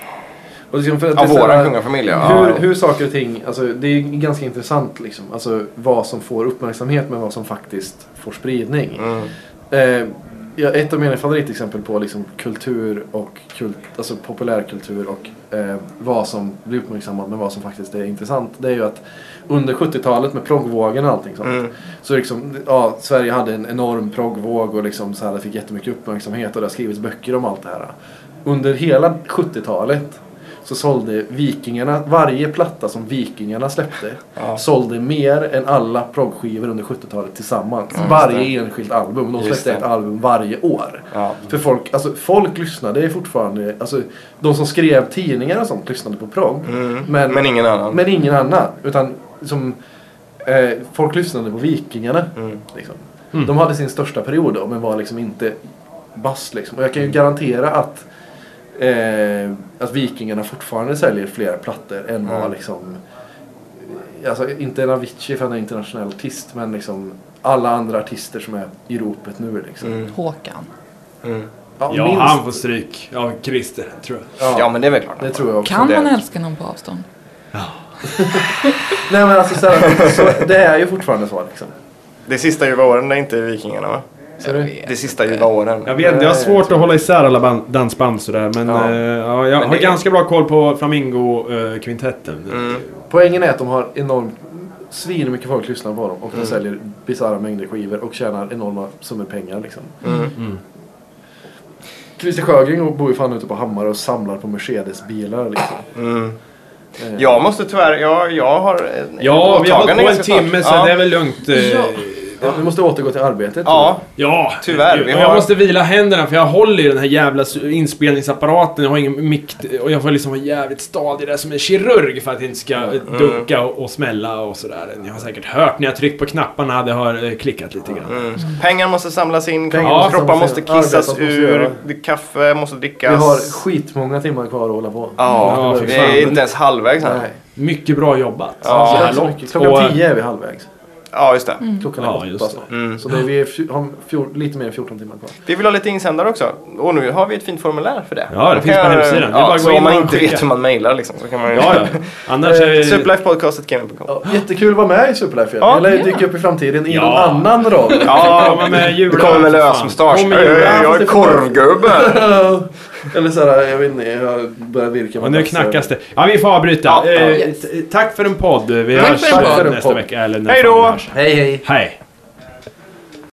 S4: Och liksom för att
S1: Av
S4: det är så här-
S1: våra kungafamiljer, ja.
S4: Hur, hur saker och ting, alltså, det är ju ganska intressant liksom. Alltså vad som får uppmärksamhet men vad som faktiskt får spridning.
S1: Mm.
S4: Eh, ja, ett av mina favoritexempel på liksom, kultur och kult, alltså, populärkultur och eh, vad som blir uppmärksammat men vad som faktiskt är intressant. Det är ju att under 70-talet med proggvågen och allting sånt.
S1: Mm.
S4: Så liksom, ja, Sverige hade en enorm proggvåg och liksom så här, det fick jättemycket uppmärksamhet och det har skrivits böcker om allt det här. Under hela 70-talet så sålde Vikingarna, varje platta som Vikingarna släppte
S1: Ja.
S4: sålde mer än alla proggskivor under 70-talet tillsammans.
S1: Ja, just
S4: varje enskilt album. De
S1: Just
S4: släppte
S1: det.
S4: ett album varje år.
S1: Ja.
S4: För folk, alltså folk lyssnade fortfarande, alltså de som skrev tidningar och sånt lyssnade på progg.
S1: Mm. Men,
S4: Men-
S1: ingen annan.
S4: Men ingen annan. Utan som, eh, folk lyssnade på Vikingarna.
S1: Mm.
S4: Liksom. De hade sin största period då, men var liksom inte bass liksom. Och jag kan ju garantera att, eh, att Vikingarna fortfarande säljer fler plattor än vad
S1: Mm.
S4: liksom Alltså inte en Avicii för han är en internationell artist men liksom alla andra artister som är i ropet nu liksom.
S1: Mm.
S3: Håkan.
S1: Mm.
S4: Ja,
S2: Ja,
S4: minst.
S2: han får stryk av Christer, tror jag.
S4: Ja,
S1: Ja, men det är väl klart.
S4: det tror jag också.
S3: Kan
S1: det-
S3: man älska någon på avstånd?
S4: Nej men alltså så, här, så det är ju fortfarande så liksom.
S1: Det sista ljuva åren, det är inte Vikingarna va?
S4: Så det,
S1: Det sista ljuva åren.
S2: Jag vet, jag har svårt att hålla isär alla ban- dansband sådär. Men
S4: Ja.
S2: ja. ja, jag
S1: Men
S2: har
S1: det-
S2: ganska bra koll på eh, Flamingo-kvintetten.
S1: Mm.
S4: Poängen är att de har enormt svin mycket folk lyssnar på dem och de
S1: Mm.
S4: säljer bisarra mängder skivor och tjänar enorma summor pengar liksom.
S1: Mm.
S4: Christer Sjögren bor ju fan ute på Hammar och samlar på Mercedes-bilar liksom.
S1: Mm.
S4: Eh,
S1: Jag måste tyvärr, jag, jag har en
S2: Ja, vi har hållit
S1: åtagande
S2: på en
S1: ganska snart.
S2: timme så
S1: ja.
S2: det är väl lugnt. eh,
S3: Ja.
S4: ja, vi måste återgå till arbetet.
S1: Ja,
S2: Ja,
S1: Tyvärr,
S2: herregud.
S1: vi
S2: Och
S1: har-
S2: Jag måste vila händerna för jag håller i den här jävla su- inspelningsapparaten. Jag har ingen mick t- och jag får liksom vara jävligt stadig där som en kirurg för att det inte ska
S1: Mm.
S2: eh, dunka och, och smälla och sådär. Ni har säkert hört när jag tryckt på knapparna, det har eh, klickat lite grann.
S1: Mm. Pengar måste samlas in,
S4: Pengar
S1: ja,
S4: måste
S1: kroppar
S4: samlas
S1: måste
S4: in, arbetet
S1: kissas
S4: måste
S1: ur,
S4: göra.
S1: det- kaffe måste
S4: Vi
S1: drickas.
S4: har skitmånga timmar kvar att hålla på.
S1: Ja,
S2: Ja,
S1: vi
S2: för fan.
S1: är inte ens halvvägs här.
S4: Nej.
S2: Mycket bra jobbat.
S1: Ja,
S2: så
S4: Så det
S2: här
S4: är så
S2: långt.
S4: mycket. Klockan
S2: Och, eh,
S4: tio är vi halvvägs.
S1: Ja, just det.
S4: Klockan är
S2: Ja,
S4: åtta.
S2: just det.
S4: så.
S1: Mm.
S4: Så det är vi är fj- har fjor, lite mer än 14 timmar kvar.
S1: Vi vill ha lite insändare också. Och nu har vi ett fint formulär för det.
S2: Ja, det
S1: Då
S2: finns
S1: kan
S2: på
S1: jag-
S2: hemsidan. Det är
S1: Ja,
S2: bara att
S1: så
S2: gå in
S1: om man
S2: och
S1: inte
S2: klicka.
S1: vet hur man mejlar liksom, så kan man ju...
S2: Ja, ja. [LAUGHS] Annars
S1: Eh,
S2: är det...
S1: Superlifepodcast.gmail.com
S4: Ja, jättekul att vara med i Superlife igen.
S1: Ja.
S4: Eller dyka upp i framtiden i
S2: Ja.
S4: någon annan roll.
S2: Komma med
S1: du
S2: julöl,
S1: kommer med
S2: för fan.
S1: lösmustasch.
S2: Kom med
S1: Öj,
S2: julöl.
S1: Jag är korvgubbe.
S4: [LAUGHS] Eller såhär, jag vet inte, jag börjar virka
S2: Och nu knackas det. Ja, vi får avbryta.
S1: Ja, ja.
S2: Eh, t- Tack för en podd. Vi
S3: Tack
S2: hörs
S3: för en
S2: eh,
S4: podd.
S2: nästa vecka. Eller när
S1: Hej
S2: fan vi
S1: då.
S2: hörs.
S4: Hej hej!
S2: Hej!